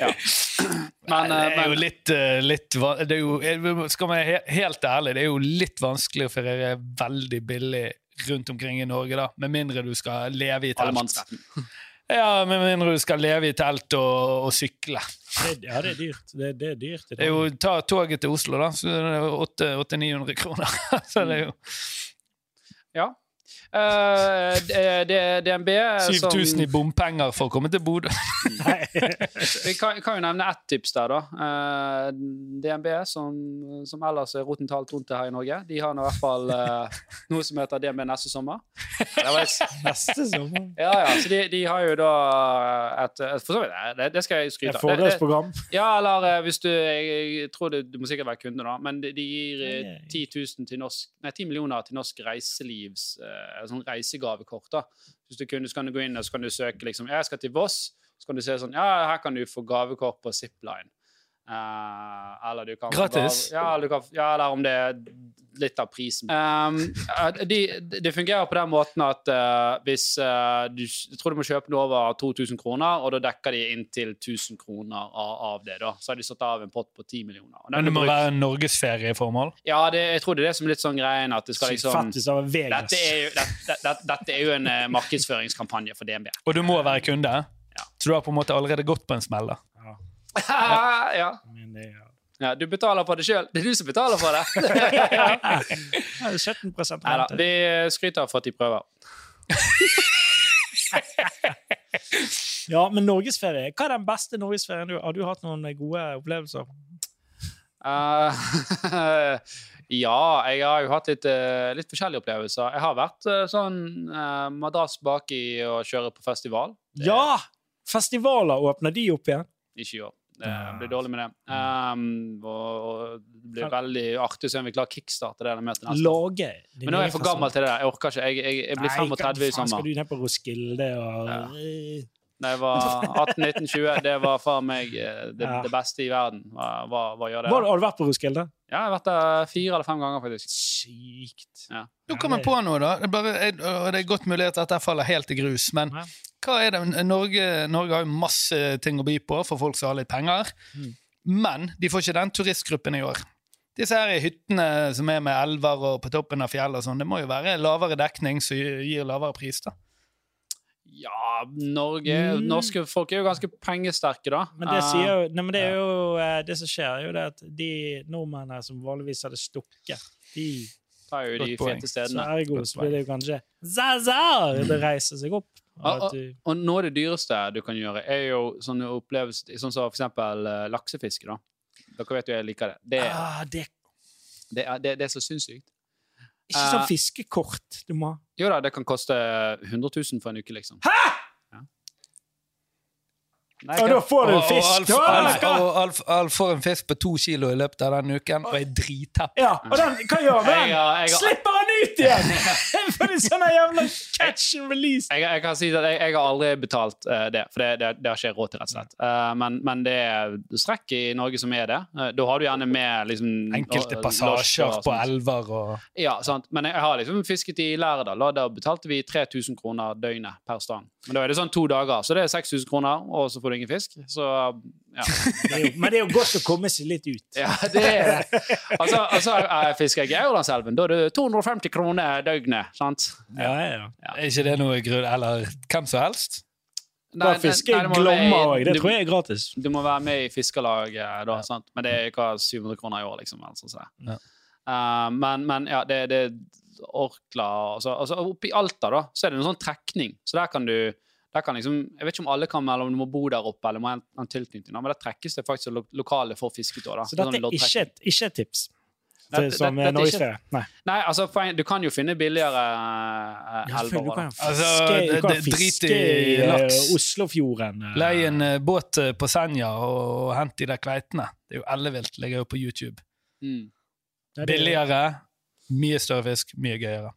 Men, Nei, eh, det er jo men litt, eh, litt va- det er jo, jeg- Skal man være he- helt ærlig, det er jo litt vanskelig å feriere veldig billig rundt omkring i Norge, da. Med mindre du skal leve i telt. allemannsretten. Ja, med mindre du skal leve i telt og, og sykle. Det, ja, det er dyrt. Det, det er dyrt. i Det er Danmark. jo, ta toget til Oslo, da, så er det er 800-900 kroner. Så det Mm. er jo Ja. Eh, d- d- DNB som- 7000 i bompenger for å komme til Bodø. Nei. Vi kan, kan jo nevne ett tips der, da. Eh, DNB, som, som ellers er roten til alt vondt her i Norge, de har nå i hvert fall eh, noe som heter DNB neste sommer. Det var et- Neste sommer. Ja, ja, så de, de har jo da et, et For så vidt, det, det skal jeg skryte Et av. Det- det- fordelsprogram. Ja, eller eh, hvis du jeg, jeg tror det, Du må sikkert være kunde, da, men de, de gir eh, Nei, nei. 10, 000 til norsk, nei, 10 millioner til norsk reiselivs eh, sånn reisegavekort. da. Hvis du er kunde, så kan du gå inn og så kan du søke liksom, «Ja, jeg skal til Voss, så kan du se sånn Ja, her kan du få gavekort på Zipline. Eh, eller du kan Gratis? Bare, ja, eller du kan, ja, eller om det er litt av prisen. Ehm, eh, de, det fungerer på den måten at eh, hvis eh, du jeg tror du må kjøpe noe over 2000 kroner, og da dekker de inntil 1000 kroner av, av det. da. Så har de satt av en pott på 10 millioner. Og den Men det må blir brukt- være norgesferieformål. Ja, det, jeg tror det er det som er litt sånn greien at det skal liksom Fattis av Vegas. dette er, jo, dette, dette, dette er jo en eh, markedsføringskampanje for DNB. Og du må være kunde. Ja. Så du har på en måte allerede gått på en smell. da. Ja, ja. men det er ja, Du betaler for det sjøl. Det er du som betaler for det. Ja, 17 Nei da. rente. Vi skryter for at de prøver. Ja, men norgesferie. Hva er den beste norgesferien du har? Du hatt noen gode opplevelser? Eh, ja, jeg har jo hatt litt, eh, litt forskjellige opplevelser. Jeg har vært eh, sånn eh, madrass baki og kjøre på festival. Det- Ja! Festivaler åpner de opp igjen. Ikke i år. Det Ja. blir dårlig med det. mm. Um, og, og det blir veldig artig å se om vi klarer å kickstarte det med til neste år. Lage din Altså, Men nå er egen jeg for festival. gammel til det der. Jeg orker ikke. Jeg, jeg, jeg blir Nei, 35 i faen, sommer. Skal du ned på Roskilde og Ja. Da jeg var 18-19-20, det var for meg eh, det, Ja. det beste i verden. Hva, hva, hva gjør det? Var, da? Har du vært på Roskilde? Ja, jeg har vært der fire eller fem ganger, faktisk. Sykt. Ja. Nå kom jeg på noe, da. Det er, bare, jeg- og det er godt mulig at dette faller helt i grus. Men Ja. hva er det? Norge, Norge har jo masse ting å by på for folk som har litt penger. Mm. Men de får ikke den turistgruppen i år. Disse her hyttene som er med elver og på toppen av fjell og sånn, det må jo være lavere dekning som gir gir lavere pris, da. Ja, Norge Norske folk er jo ganske pengesterke, da. Mm. Men det, Eh, sier jo, nei, men det, er jo, eh, det som skjer, er jo det at de nordmennene som vanligvis hadde stukket, de tar jo de Godt poeng. fete så stedene. ergo godt så blir det jo kanskje Zaza! Det reiser seg opp. Og Mm. Ah, ah. at du, Og noe av det dyreste du kan gjøre, er jo sånne opplevelser Sånn som for eksempel eh, laksefiske, da. Dere vet jo jeg liker det. Det, ah, det er det, er, det, det er så sinnssykt. ikke Eh. sånn fiskekort du må ha. Jo da, det kan koste 100 000 for en uke, liksom. Hæ?! Ja. Nei, Og hva- da får du Og- og fisk! Alf- Ja, Alf- hva? Og Alf- Alf får en fisk på to kilo i løpet av den uken, og er drithepp. Ja, og den, hva gjør Jeg, den? har- jeg, har- Slipper han ut igjen! For det er sånn jævla catch and release. jeg, jeg kan si at jeg, jeg har aldri betalt eh, det, for det, det, det har ikke jeg råd til, rett og slett. Eh, men, men det er strekk i Norge som er det. Eh, da har du gjerne med liksom, Enkelte eh, losjer passasjer og på sånt. elver og Ja, sant. Men jeg har liksom fisket i Lærdal, og da betalte vi 3000 kroner døgnet per stang. Men da er det sånn to dager, så det er 6000 kroner, og så får du ingen fisk. Så ja. Det er jo- Men det er jo godt å komme seg litt ut. Ja, det er det. Og så altså, fisker jeg i Aurlandselven. Da er det 250 kroner døgnet. sant? Ja, ja, ja. Er ikke det noe grunn Eller hvem som helst? Bare fiske det må være glommer i- òg. Det du- tror jeg er gratis. Du må være med i fiskerlaget, da, sant? men det er ikke 700 kroner i år, liksom. eller sånn som det. Ja. Eh, men, men ja, det, det er Orkla og så altså, Oppe i Alta da, så er det en sånn trekning. Så der kan du der kan liksom, Jeg vet ikke om alle kan, eller om du må bo der oppe, eller må ha en, en tilknytning, da, men der trekkes det faktisk lo lokale for fisket. da, da. Så dette Sånn er loddtrekning. ikke et, ikke et tips. Dette- Det, dette- som dette er dette, norgesferie. Nei. Nei, altså, poeng- du kan jo finne billigere uh, elver. du da. kan Altså, fiske, du kan det- det- drit fiske i i eh, laks. Oslofjorden. eh. Leie en eh, båt eh, på Senja og hent de der kveitene. Det er jo ellevilt. Ligger jo på YouTube. Mm. Ja, det- Billigere, mye større fisk, mye gøyere.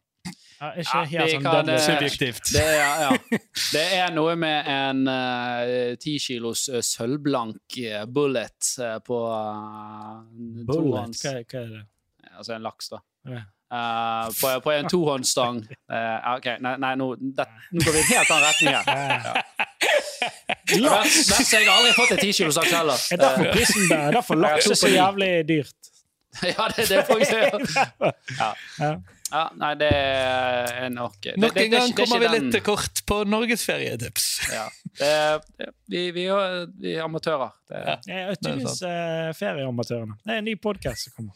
Ja, ikke Ja, helt vi sånn kan, deadly. eh, Subjektivt. Det er, ja. det er noe med en ti kilos eh, sølvblank eh, bullet eh, på eh, Bullet, tohånds hva, hva er det? Altså en laks, da. Ja. Eh, på, på en tohåndsstang. Eh, OK, nei, nei nå, det, nå går vi i en helt annen retning her. Ja. Det er verst- verst jeg har aldri fått en kilos laks heller. Er derfor prisen der? Er derfor laks er så jævlig dyrt? Eh, ja, det, det får jeg si. Ja. Ja. ja. Nei, det er nok det- det- Nok det er en ikke- gang det er kommer vi ikke den- litt til kort på norgesferietips. ja. det, det, vi, vi, er- vi er amatører. Det, Ja. Eh, Tydeligvis eh, ferieamatørene. Det er en ny podkast som kommer.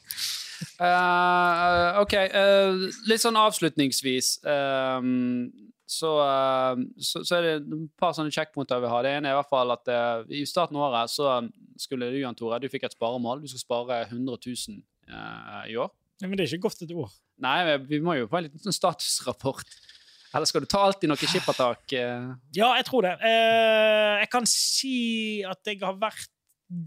Eh, ok, eh, litt sånn avslutningsvis ehm, så, eh, så, så er det et par sånne sjekkpunkter vi har. Det ene er i hvert fall at eh, i starten av året så eh, skulle du, Jan Tore, du fikk et sparemål. Du skal spare 100 000 eh, i år. Nei, men det er ikke gått et år. Nei, men vi må jo få en liten sånn statusrapport. Eller skal du ta alltid noe skippertak? eh? Ja, jeg tror det. Eh, jeg kan si at jeg har vært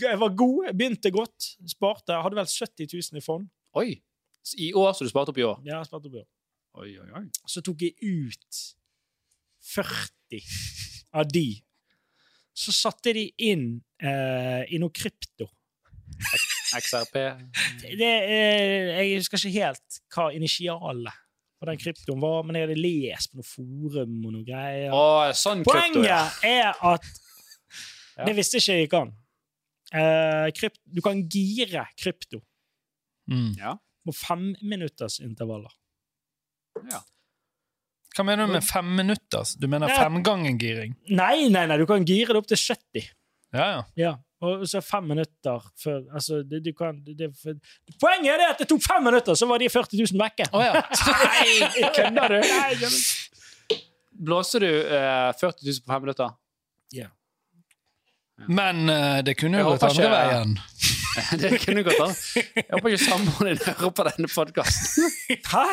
Jeg var god, jeg begynte godt, sparte. Jeg hadde vel 70 000 i fond. Oi! I år, så du sparte opp i år? Ja, jeg sparte opp i år. Oi, oi, oi. så tok jeg ut 40 av de. Så satte de inn eh, i noe krypto. XRP. Det er, jeg husker ikke helt hva initialet på den kryptoen var, men jeg hadde lest på noe forum og noe greier. Og sånn krypto. ja. Poenget er at Ja. Det visste ikke jeg gikk an. Eh, krypt, du kan gire krypto Mm. Ja. på femminuttersintervaller. Hva mener du med fem minutter? Altså, Du mener Ja. fem ganger giring? Nei, nei, nei, du kan gire det opp til 70. Ja, ja. Ja, og så fem minutter før altså, det, du kan, det, for, Poenget er det at det tok fem minutter, så var de 40 000 vekke. Å ja. Nei, kødder du? Nei, jeg- Blåser du eh, 40 000 på fem minutter? Men eh, det kunne Jeg jo gått håper andre ikke- veien. det kunne gått an. Jeg håper ikke samboeren din hører på denne podkasten. Hæ?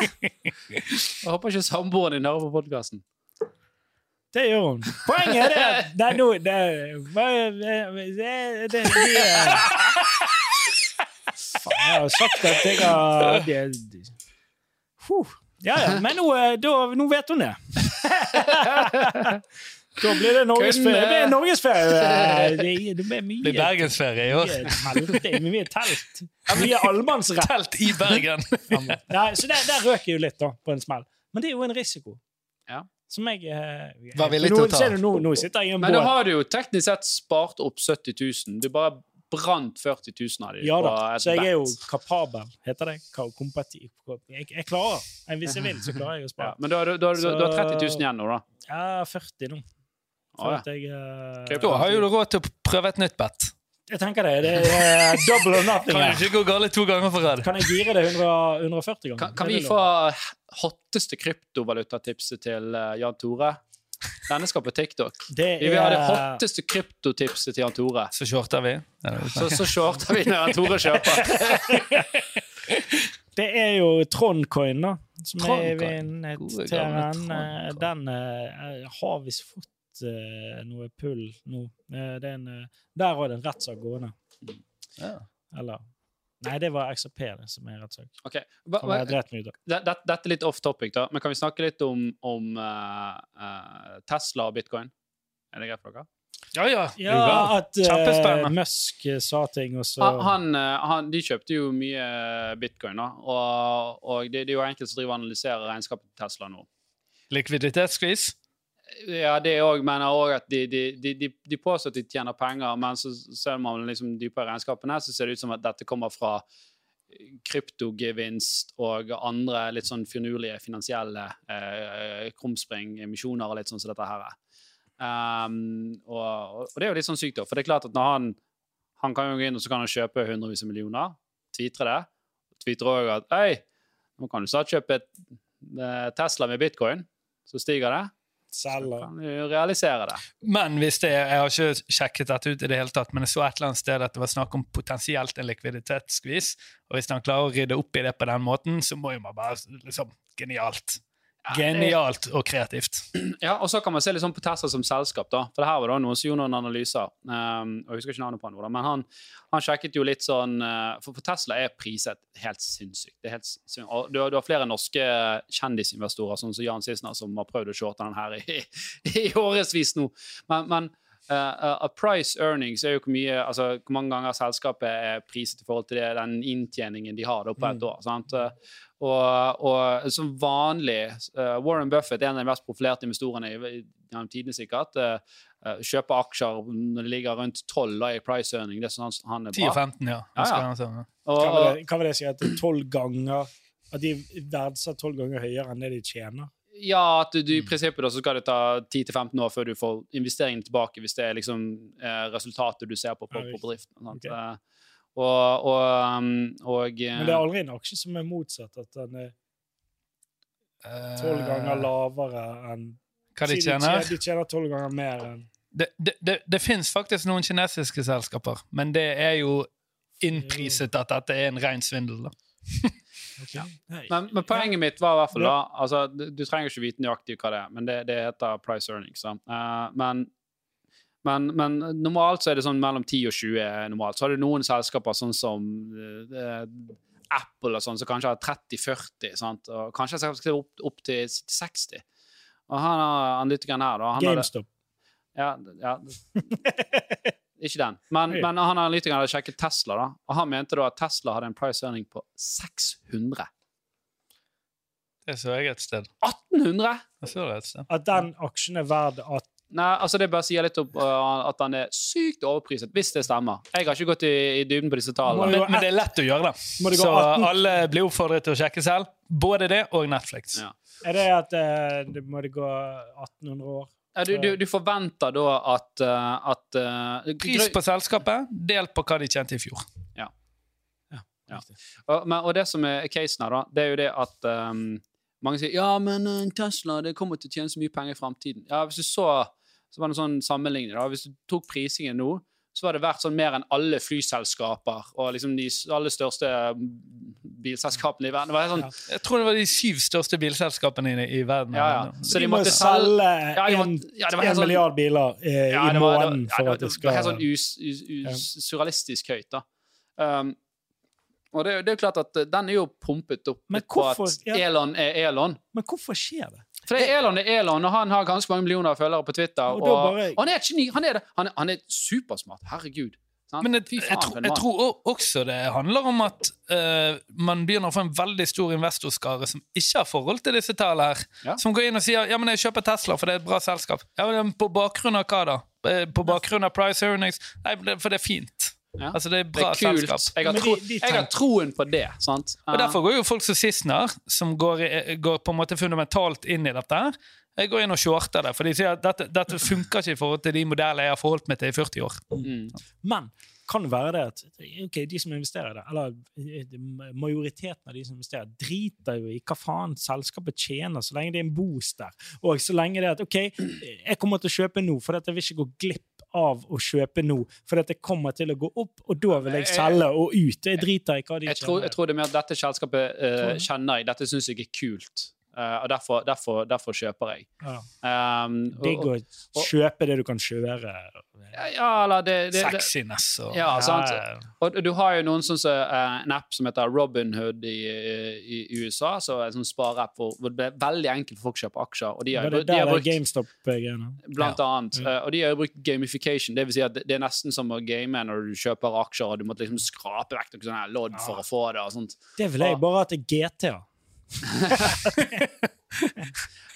Jeg håper ikke samboeren din hører på podkasten. Det gjør hun. Poenget er det at det er noe det, det, det, det, de, eh, Faen, jeg har sagt at jeg har de, de. Huh. Ja, ja, men nå, eh, da, nå vet hun det. Da blir det norgesferie. Det blir norgesferie. eh, Det, det blir mye Det blir bergensferie i år. mye telt. det er Mye telt. Mye allemannsrett. Telt i Bergen! Nei, så der, der røk jeg jo litt, da, på en smell. Men det er jo en risiko. Ja. Som jeg eh, Var villig nå, til å ta. ser du, Nå, nå sitter jeg i en Men da båt. har du jo teknisk sett spart opp 70 000. Du bare brant 40 000 av dem Ja da, på et så jeg er jo bet. kapabel, heter det. Ka- Kompati... ko- Jeg, jeg klarer. Jeg- Hvis jeg vil, så klarer jeg å Ja, spare. men du har, du, har, du, har- du har 30 000 igjen nå, da. Jeg er 40 nå. Å, For ja. at jeg, eh, Krypto. Da har jo du råd til å prøve et nytt bet. jeg tenker det. Det er eh, double or nothing. Kan her. ikke gå galt to ganger på rad. Kan jeg gire det 100, 140 ganger? Kan, kan Det vi vil få jeg. hotteste kryptovalutatipset til eh, Jan Tore? Denne skal på TikTok. Det Vi vil ha det er hotteste kryptotipset til Jan Tore. Så shorter vi. Ja, det er Så, så shorter vi når Jan Tore kjøper. Det er jo Trondcoin, da. Som er Trondcoin. Gode, gamle vinneteren. Eh, Trondcoin. Den eh, har visst fått eh, noe pull nå. Eh, Det er en, eh, der har det en rettssak gående. Ja. Eller Nei, det var XRP det som er rettssak. Ok, hva- Som jeg hva- dreit meg ut av. det- det- Dette er litt off topic, da, men kan vi snakke litt om, om eh, eh, Tesla og bitcoin? Er det greit for dere? Ja, ja. Ja, at eh, Kjempespennende. Musk eh, sa ting, og så Han, han, eh, han, de kjøpte jo mye bitcoin, da, og, og det, det er jo enkelte som driver og analyserer regnskapet til Tesla nå. Likviditetsskvis. Ja, det òg, men òg at de, de, de, de, de påstår at de tjener penger, men så ser man liksom dypere i regnskapene, så ser det ut som at dette kommer fra eh, kryptogevinst og andre litt sånn finurlige finansielle eh, krumspring, emisjoner og litt sånn som dette her er. Um, og, og- og det er jo litt sånn sykt, da. For det er klart at når han han kan jo gå inn og så kan han kjøpe hundrevis av millioner, tvitre det, tvitre òg at Hei, nå kan du snart kjøpe et, eh, Tesla med bitcoin, så stiger det selger. kan du realisere det. Men hvis det er, jeg har ikke sjekket dette ut i det hele tatt, men jeg så et eller annet sted at det var snakk om potensielt en likviditetsskvis. Og hvis han klarer å rydde opp i det på den måten, så må jo man bare liksom Genialt. Genialt og kreativt. Ja, og så kan man se litt sånn på Tesla som selskap, da. For det her var da noen som gjorde noen analyser. Um, og jeg husker ikke navnet på han, nå, da, men han, han sjekket jo litt sånn eh, For, for Tesla er priset helt sinnssykt. Det er helt sin- og du, har- du har flere norske kjendisinvestorer, sånn som Jan Sissener, som har prøvd å shorte den her i, i årevis nå. Men, men eh, eh, price earnings er jo hvor mye altså hvor mange ganger selskapet er priset i forhold til det, den inntjeningen de har da på et Mm. år. sant? Eh, Og, og som vanlig eh, Warren Buffett er en av de mest profilerte investorene i, i gjennom tidene, sikkert. eh, eh, kjøper aksjer når det ligger rundt 12 da, i price earning. Det er sånn han, han er 10 og bra. 15, ja. Ja, ja. ja. Og, Hva var og, det- hva var det jeg sier? At det er tolv ganger At de verdsatt tolv ganger høyere enn det de tjener? ja, at du, du Mm. i prinsippet da, så skal det ta 10-15 år før du får investeringen tilbake, hvis det er liksom eh, resultatet du ser på på, Ja, på bedriften. Sant? Ok. Eh, og, og, um, og eh, Men det er aldri en aksje som er motsatt, at den er tolv ganger lavere enn Eh, Hva de Si tjener? De tjener tolv ganger mer enn Det, det, det, det fins faktisk noen kinesiske selskaper, men det er jo innpriset at dette er en ren svindel. da. Ja. Nei. Men, men poenget mitt var i hvert fall da altså, Du du trenger ikke vite nøyaktig hva det er, men det, det heter price earnings. da. Eh, men, men, men normalt så er det sånn mellom 10 og 20. er normalt. Så har du noen selskaper sånn som eh, Apple og sånn, som kanskje har 30-40, sant? og kanskje jeg skal opp, opp til 60. Og han har analytikeren her, da han hadde- GameStop. ja, ja. Ikke den. Men, Oi. men han analytikeren hadde sjekket Tesla, da, og han mente da at Tesla hadde en price earning på 600. Det så jeg et sted. 1800?! Jeg så det et sted. At den aksjen er verd at Nei, altså Det bare sier litt om uh, at han er sykt overpriset, hvis det stemmer. Jeg har ikke gått i, i dybden på disse Må tallene. jo- Men, men det er lett å gjøre, Må det. det gå Så 18? alle blir oppfordret til å sjekke selv. Både det og Netflix. Ja. Er det at eh, det må det gå 1800 år? Ja, eh, du, du, du forventer da at, uh, at uh, Pris på selskapet delt på hva de tjente i fjor. Og, men, og det som er casen her, da, det er jo det at ehm, mange sier ja, men eh, Tesla det kommer til å tjene så mye penger i framtiden. Ja, hvis du så, så var det en sånn sammenligning da, Hvis du tok prisingen nå, så var det verdt sånn mer enn alle flyselskaper og liksom de s- aller største mm, bilselskapene i verden. Det var helt sånn, Jeg tror det var de syv største bilselskapene i, i verden. ja, ja. Så De de må måtte jo selge selge Ja, de en, måtte- ja, det var en helt sånn- milliard biler eh, Ja, det var- i det var- måneden ja, for at det det var skal helt sånn us, us, us, surrealistisk høyt, da. Um, og det, er jo- det er jo klart at eh, den er jo pumpet opp Men litt på at hvorfor- ja. Elon er Elon. Men hvorfor skjer det? For det er Elon det er Elon, og han har ganske mange millioner følgere på Twitter. Og Og, da bare- og han er et geni! Han er, det. Han er, han er supersmart. Herregud. Sant? Men jeg, Fy jeg, faen, tror- for en jeg mann. tror o- også det handler om at eh, man begynner å få en veldig stor investorskare som ikke har forhold til disse tallene her, Ja. som går inn og sier ja, men jeg kjøper Tesla, for det er et bra selskap. Ja, men På bakgrunn av hva da? Eh, På bakgrunn av price earnings? Nei, men det- for det er fint. Ja. Altså, det er det bra er kult. selskap. Jeg har, Men tro, de- de jeg har tenker- troen på det. sant? Um, Og Derfor går jo folk som Sissener, som går, i- går på en måte fundamentalt inn i dette, her, jeg går inn og shorter det. For de sier at dette, dette funker ikke i forhold til de modellene jeg har forholdt meg til i 40 år. Mm. Men kan det være det at ok, de som investerer i det, eller eh, majoriteten av de som investerer, driter jo i hva faen selskapet tjener, så lenge det er en boost der. Og så lenge det er at OK, jeg kommer til å kjøpe nå, for dette vil ikke gå glipp av å kjøpe nå, for dette kommer til å gå opp, og da vil jeg selge og ut. Jeg driter i hva de Jeg, tror, jeg tror det er mer at dette selskapet eh, kjenner jeg. Dette syns jeg er kult. Eh, og derfor, derfor, derfor kjøper jeg. Ja. Um, og- Digg å og- kjøpe det du kan kjøre. Ja, eller det, det, det, Sexiness og ja, sant? Ja, Og du har jo noen sånn som, eh, en app som heter Robinhood i, eh, i, i USA, så en sånn spareapp hvor hvor det er veldig enkelt for folk å kjøpe aksjer. Og de har, Var det de der har er Mm. brukt, GameStop-greiene? blant annet, eh, og de har jo brukt gamification. Det vil si at det det er nesten som å game når du kjøper aksjer og du måtte liksom skrape vekk noen sånne her lodd Ah. for å få det. og sånt. Det vil jeg bare at det er GTA.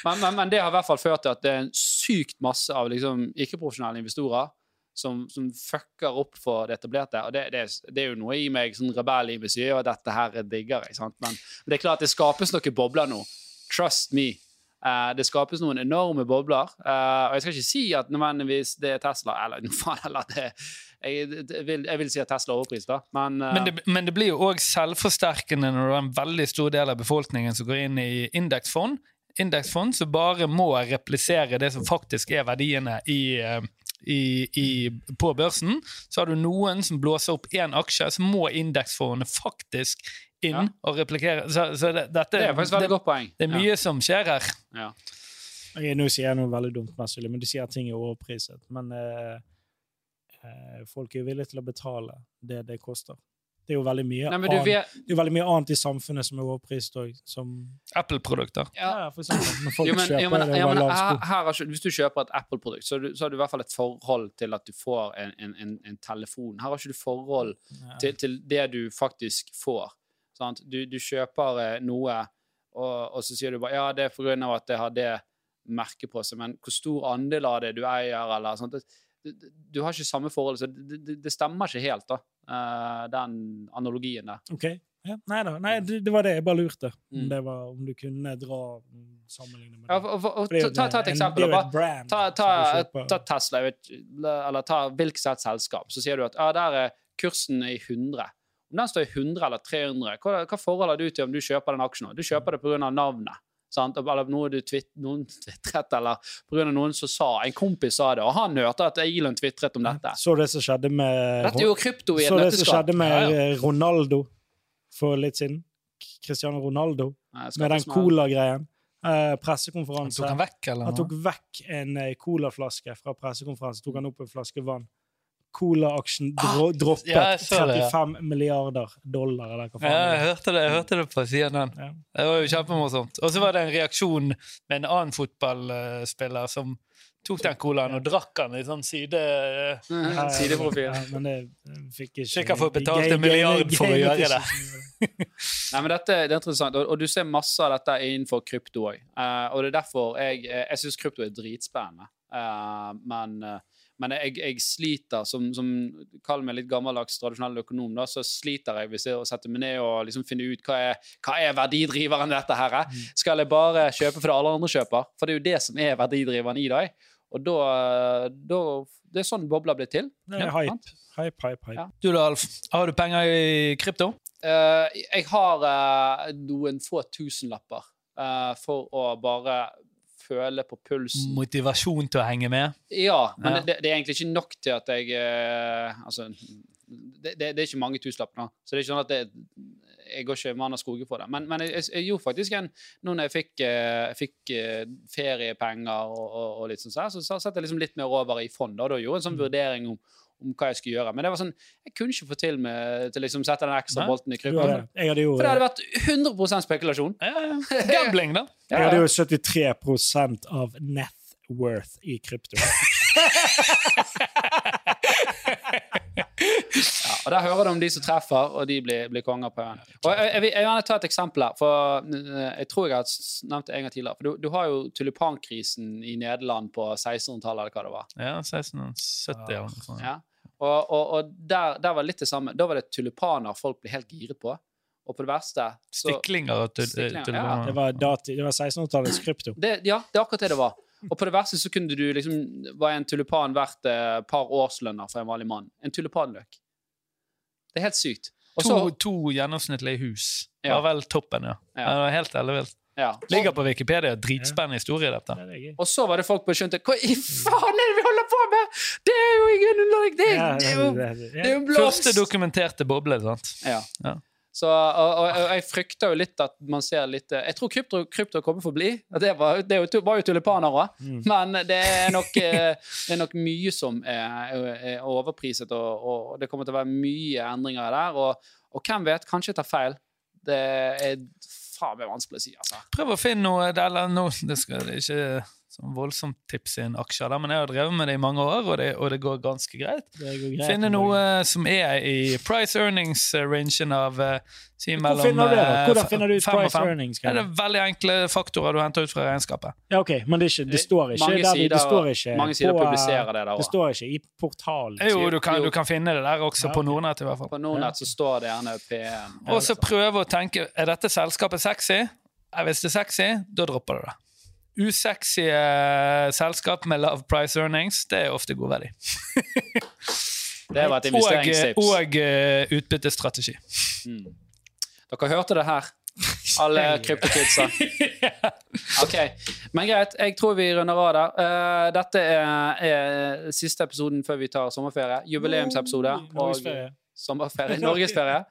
Men, men, men det har i hvert fall ført til at det er en sykt masse av liksom, ikke-profesjonelle investorer som, som fucker opp for det etablerte. Og det, det, er- det er jo noe i meg, sånn rebell i meg, som gjør at dette her digger jeg. sant? Men, men det er klart, det skapes noen bobler nå. Trust me. Eh, det skapes noen enorme bobler. Eh, og jeg skal ikke si at nødvendigvis det er Tesla, eller noe faen, eller det jeg, det- jeg, vil, jeg vil si at Tesla er overprist, da. Men, eh, Men det, men det blir jo òg selvforsterkende når det er en veldig stor del av befolkningen som går inn i indeksfond, indeksfond som bare må replisere det som faktisk er verdiene i, eh, i, i, på børsen. Så har du noen som blåser opp én aksje, så må indeksfondene faktisk inn Ja. og replikere. Så, så det, dette, det er faktisk et veldig det, godt poeng. det er mye som skjer her. Ja, ja. Ok, nå sier jeg noe veldig dumt, mest sannsynlig, men du sier at ting er overpriset. Men eh, eh, folk er jo villige til å betale det det koster. Det er jo veldig mye, Nei, men du annet, vet, det er jo veldig mye annet i samfunnet som er overpriset òg. Som Apple-produkter. Ja. ja, for eksempel, når folk Jo, men, kjøper jo, men, det jo, over men, lav her, sko. her har ikke, hvis du kjøper et Apple-produkt, så, har du- så har du i hvert fall et forhold til at du får en, en, en, en telefon. Her har ikke du forhold Ja. til, til det du faktisk får. Sant? Du, du kjøper eh, noe, og, og så sier du bare ja, det er på grunn av at det har det merket på seg, men hvor stor andel av det du eier, eller sånt, det, det- du har ikke samme forhold, så det, det, det stemmer ikke helt, da, eh, den analogien der. Ok, Ja, nei da. Nei, det, det var det. Jeg bare lurte om, Mm. det var, om du kunne dra sammenligne med Ja, det. for, for, For det er for, jo ta, ta en- et eksempel. da, det er jo bare- et brand ta, som ta, du kjøper. ta Tesla, jeg vet, ikke, eller ta hvilket som helst selskap, så sier du at ja, der er kursen i 100. Om den står i 100 eller 300, hva, hva forhold har du til om du kjøper den aksjen? nå? Du kjøper det pga. navnet. Sant? Eller noe du twitt, noen tvitret, eller pga. noen som sa En kompis sa det, og han hørte at Elon tvitret om dette. Så det som skjedde med Dette er jo krypto i et Så det som nøtteskall. skjedde med Ja, ja. eh, Ronaldo for litt siden. Cristiano Ronaldo. Nei, jeg skal med den ikke smelle. cola-greien. Eh, Sånn Han pressekonferanse. tok den vekk, eller Han noe? tok vekk en eh, colaflaske fra pressekonferansen, tok han opp en flaske vann. Cola-aksjen dro droppet ja, jeg så det, ja. 35 milliarder dollar, eller hva Ja, faen. jeg det er. hørte det, jeg hørte det på CNN. Ja. Det var jo kjempemorsomt. Og så var det en reaksjon med en annen fotballspiller som Tok den colaen og drakk den i sånn side... Sideprofil. Ja, Eh, men det eh, fikk ikke Sikkert får betalt Jeg- en milliard jeg- jeg- for å jeg- gjøre jeg- det. Nei, men dette det er interessant, og, og du ser masse av dette innenfor krypto òg. og det er derfor jeg, eh, jeg syns krypto er dritspennende. Eh, men eh, men jeg, jeg sliter, som, som kall meg litt gammeldags tradisjonell økonom, da, så sliter jeg hvis jeg setter meg ned og liksom finner ut hva er, hva er verdidriveren i dette her. eh? Skal jeg bare kjøpe fordi alle andre kjøper? For det er jo det som er verdidriveren i deg. Og da, eh, da Det er sånn bobler blir til. Det er Ja, hype. sant? Hype, hype, hype. Ja. Du da, Alf. Har du penger i krypto? Eh, jeg har eh, noen få tusenlapper eh, for å bare føle på pulsen. Motivasjon til å henge med? Ja, men Ja. Det, det er egentlig ikke nok til at jeg eh, Altså, det, det, det er ikke mange tusenlapper nå, så det er ikke sånn at det, jeg går ikke mann av skoge på det. Men, men jeg, jeg gjorde faktisk en Nå når jeg fikk, eh, jeg fikk eh, feriepenger og, og, og litt sånn, så, her, så så satte jeg liksom litt mer over i fond. Da, og da gjorde jeg en sånn vurdering om, om hva jeg skulle gjøre. Men det var sånn, jeg kunne ikke få til med til liksom sette den ekstra Nei. bolten i Du krypto. hadde- Jeg hadde jo For Sånn det hadde vært 100 spekulasjon. Ja, ja. Gambling, da. eh, Jeg hadde jo 73 av net worth i krypto. Ja, og Der hører du om de som treffer, og de blir, blir konger på øyen. Og jeg, jeg, vil- jeg vil gjerne ta et eksempel her, for eh, jeg tror jeg har s- nevnt det en gang tidligere. For du, du har jo tulipankrisen i Nederland på 1600-tallet, eller hva det var. Ja, 1670 eller noe sånt. Ja. Og, og, og der, der var det litt det samme. Da var det tulipaner folk ble helt giret på. Og på det verste så, Stiklinger og tul- Stiklinger, tulipaner. ja. Det var, dati- det var 1600-tallets krypto. det, Ja, det er akkurat det det var. Og på det verste så kunne du liksom var en tulipan verdt eh, et par årslønner for en vanlig mann. En tulipanløk. Det er helt sykt. Og to, så- to gjennomsnittlige hus Ja. var vel toppen, ja. Ja. ja. Det var helt ellevilt. ja. Ligger på Wikipedia. Dritspennende historie, dette. Ja, det er gøy. Og så var det folk som skjønte Hva i faen er det vi holder på med?! Det er jo ingen underlag! Det, Ja, er- det er jo, det- det- det er ja. jo blomst! Første dokumenterte boble, sant? Ja. Ja. Så, og, og, og jeg frykter jo litt at man ser litt eh, Jeg tror krypto, krypto kommer for å bli. At Det var, det er jo tu- var jo tulipaner òg. Mm. Men det er, nok, eh, det er nok mye som er, er overpriset, og, og det kommer til å være mye endringer der. Og, og hvem vet? Kanskje jeg tar feil. Det er faen meg vanskelig å si, altså. Prøv å finne noe eller noe, Det skal det er ikke sånn voldsomt tips i en aksje, da, men jeg har drevet med det i mange år, og det, og det går ganske greit. Det går greit. Finne noe eh, som er i price earnings-rangen av eh, si Hvor mellom finner du det? eh, Hvordan finner du ut fem og price fem. earnings? Ja, det Kalle? er veldig enkle faktorer du henter ut fra regnskapet. Ja, ok, Men det, er ikke, det står ikke Mange der vi- sider- det står ikke Mange sider på, eh, publiserer det der Det òg. står ikke i portalen. Jo, du kan, du kan finne det der Ja, også, ok. på Nordnett i hvert fall. På Nordnett så står det gjerne P1. Og så prøve å tenke er dette selskapet sexy. Ja, hvis det er sexy, da dropper du det. Usexy eh, selskap med lav price earnings, det er ofte god verdi. Det var et Og, eh, investeringstips. og eh, utbyttestrategi. Mm. Dere hørte det her. Alle kryptokidsa. Ok, Men greit, jeg tror vi runder av der. Eh, dette er, er siste episoden før vi tar sommerferie. Jubileumsepisode og Norgesferie. sommerferie. Norgesferie.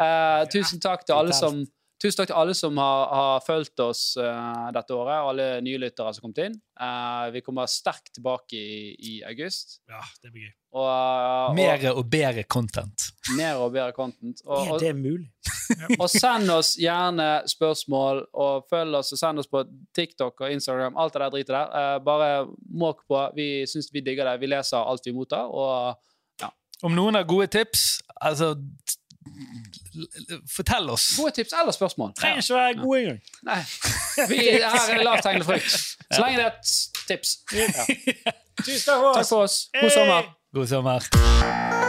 Eh, tusen takk til alle som Tusen takk til alle som har, har fulgt oss eh, dette året, og alle nylyttere som har kommet inn. Eh, vi kommer sterkt tilbake i, i august. Ja, det blir gøy. Og, eh, og Mer og bedre content. mer og bedre content. Og, Er og, det mulig? Og send oss gjerne spørsmål, og følg oss og send oss på TikTok og Instagram. Alt det der dritet der. Eh, bare måk på. Vi syns vi digger det. Vi leser alt vi mottar. Og Om noen har gode tips, altså Fortell oss. gode tips eller spørsmål. Trenger ikke være god engang. Nei. Vi, her er lavt hengende frukt. Så lenge det er et tips. Ja. Tusen takk for Takk oss! for oss. God sommer. God sommer.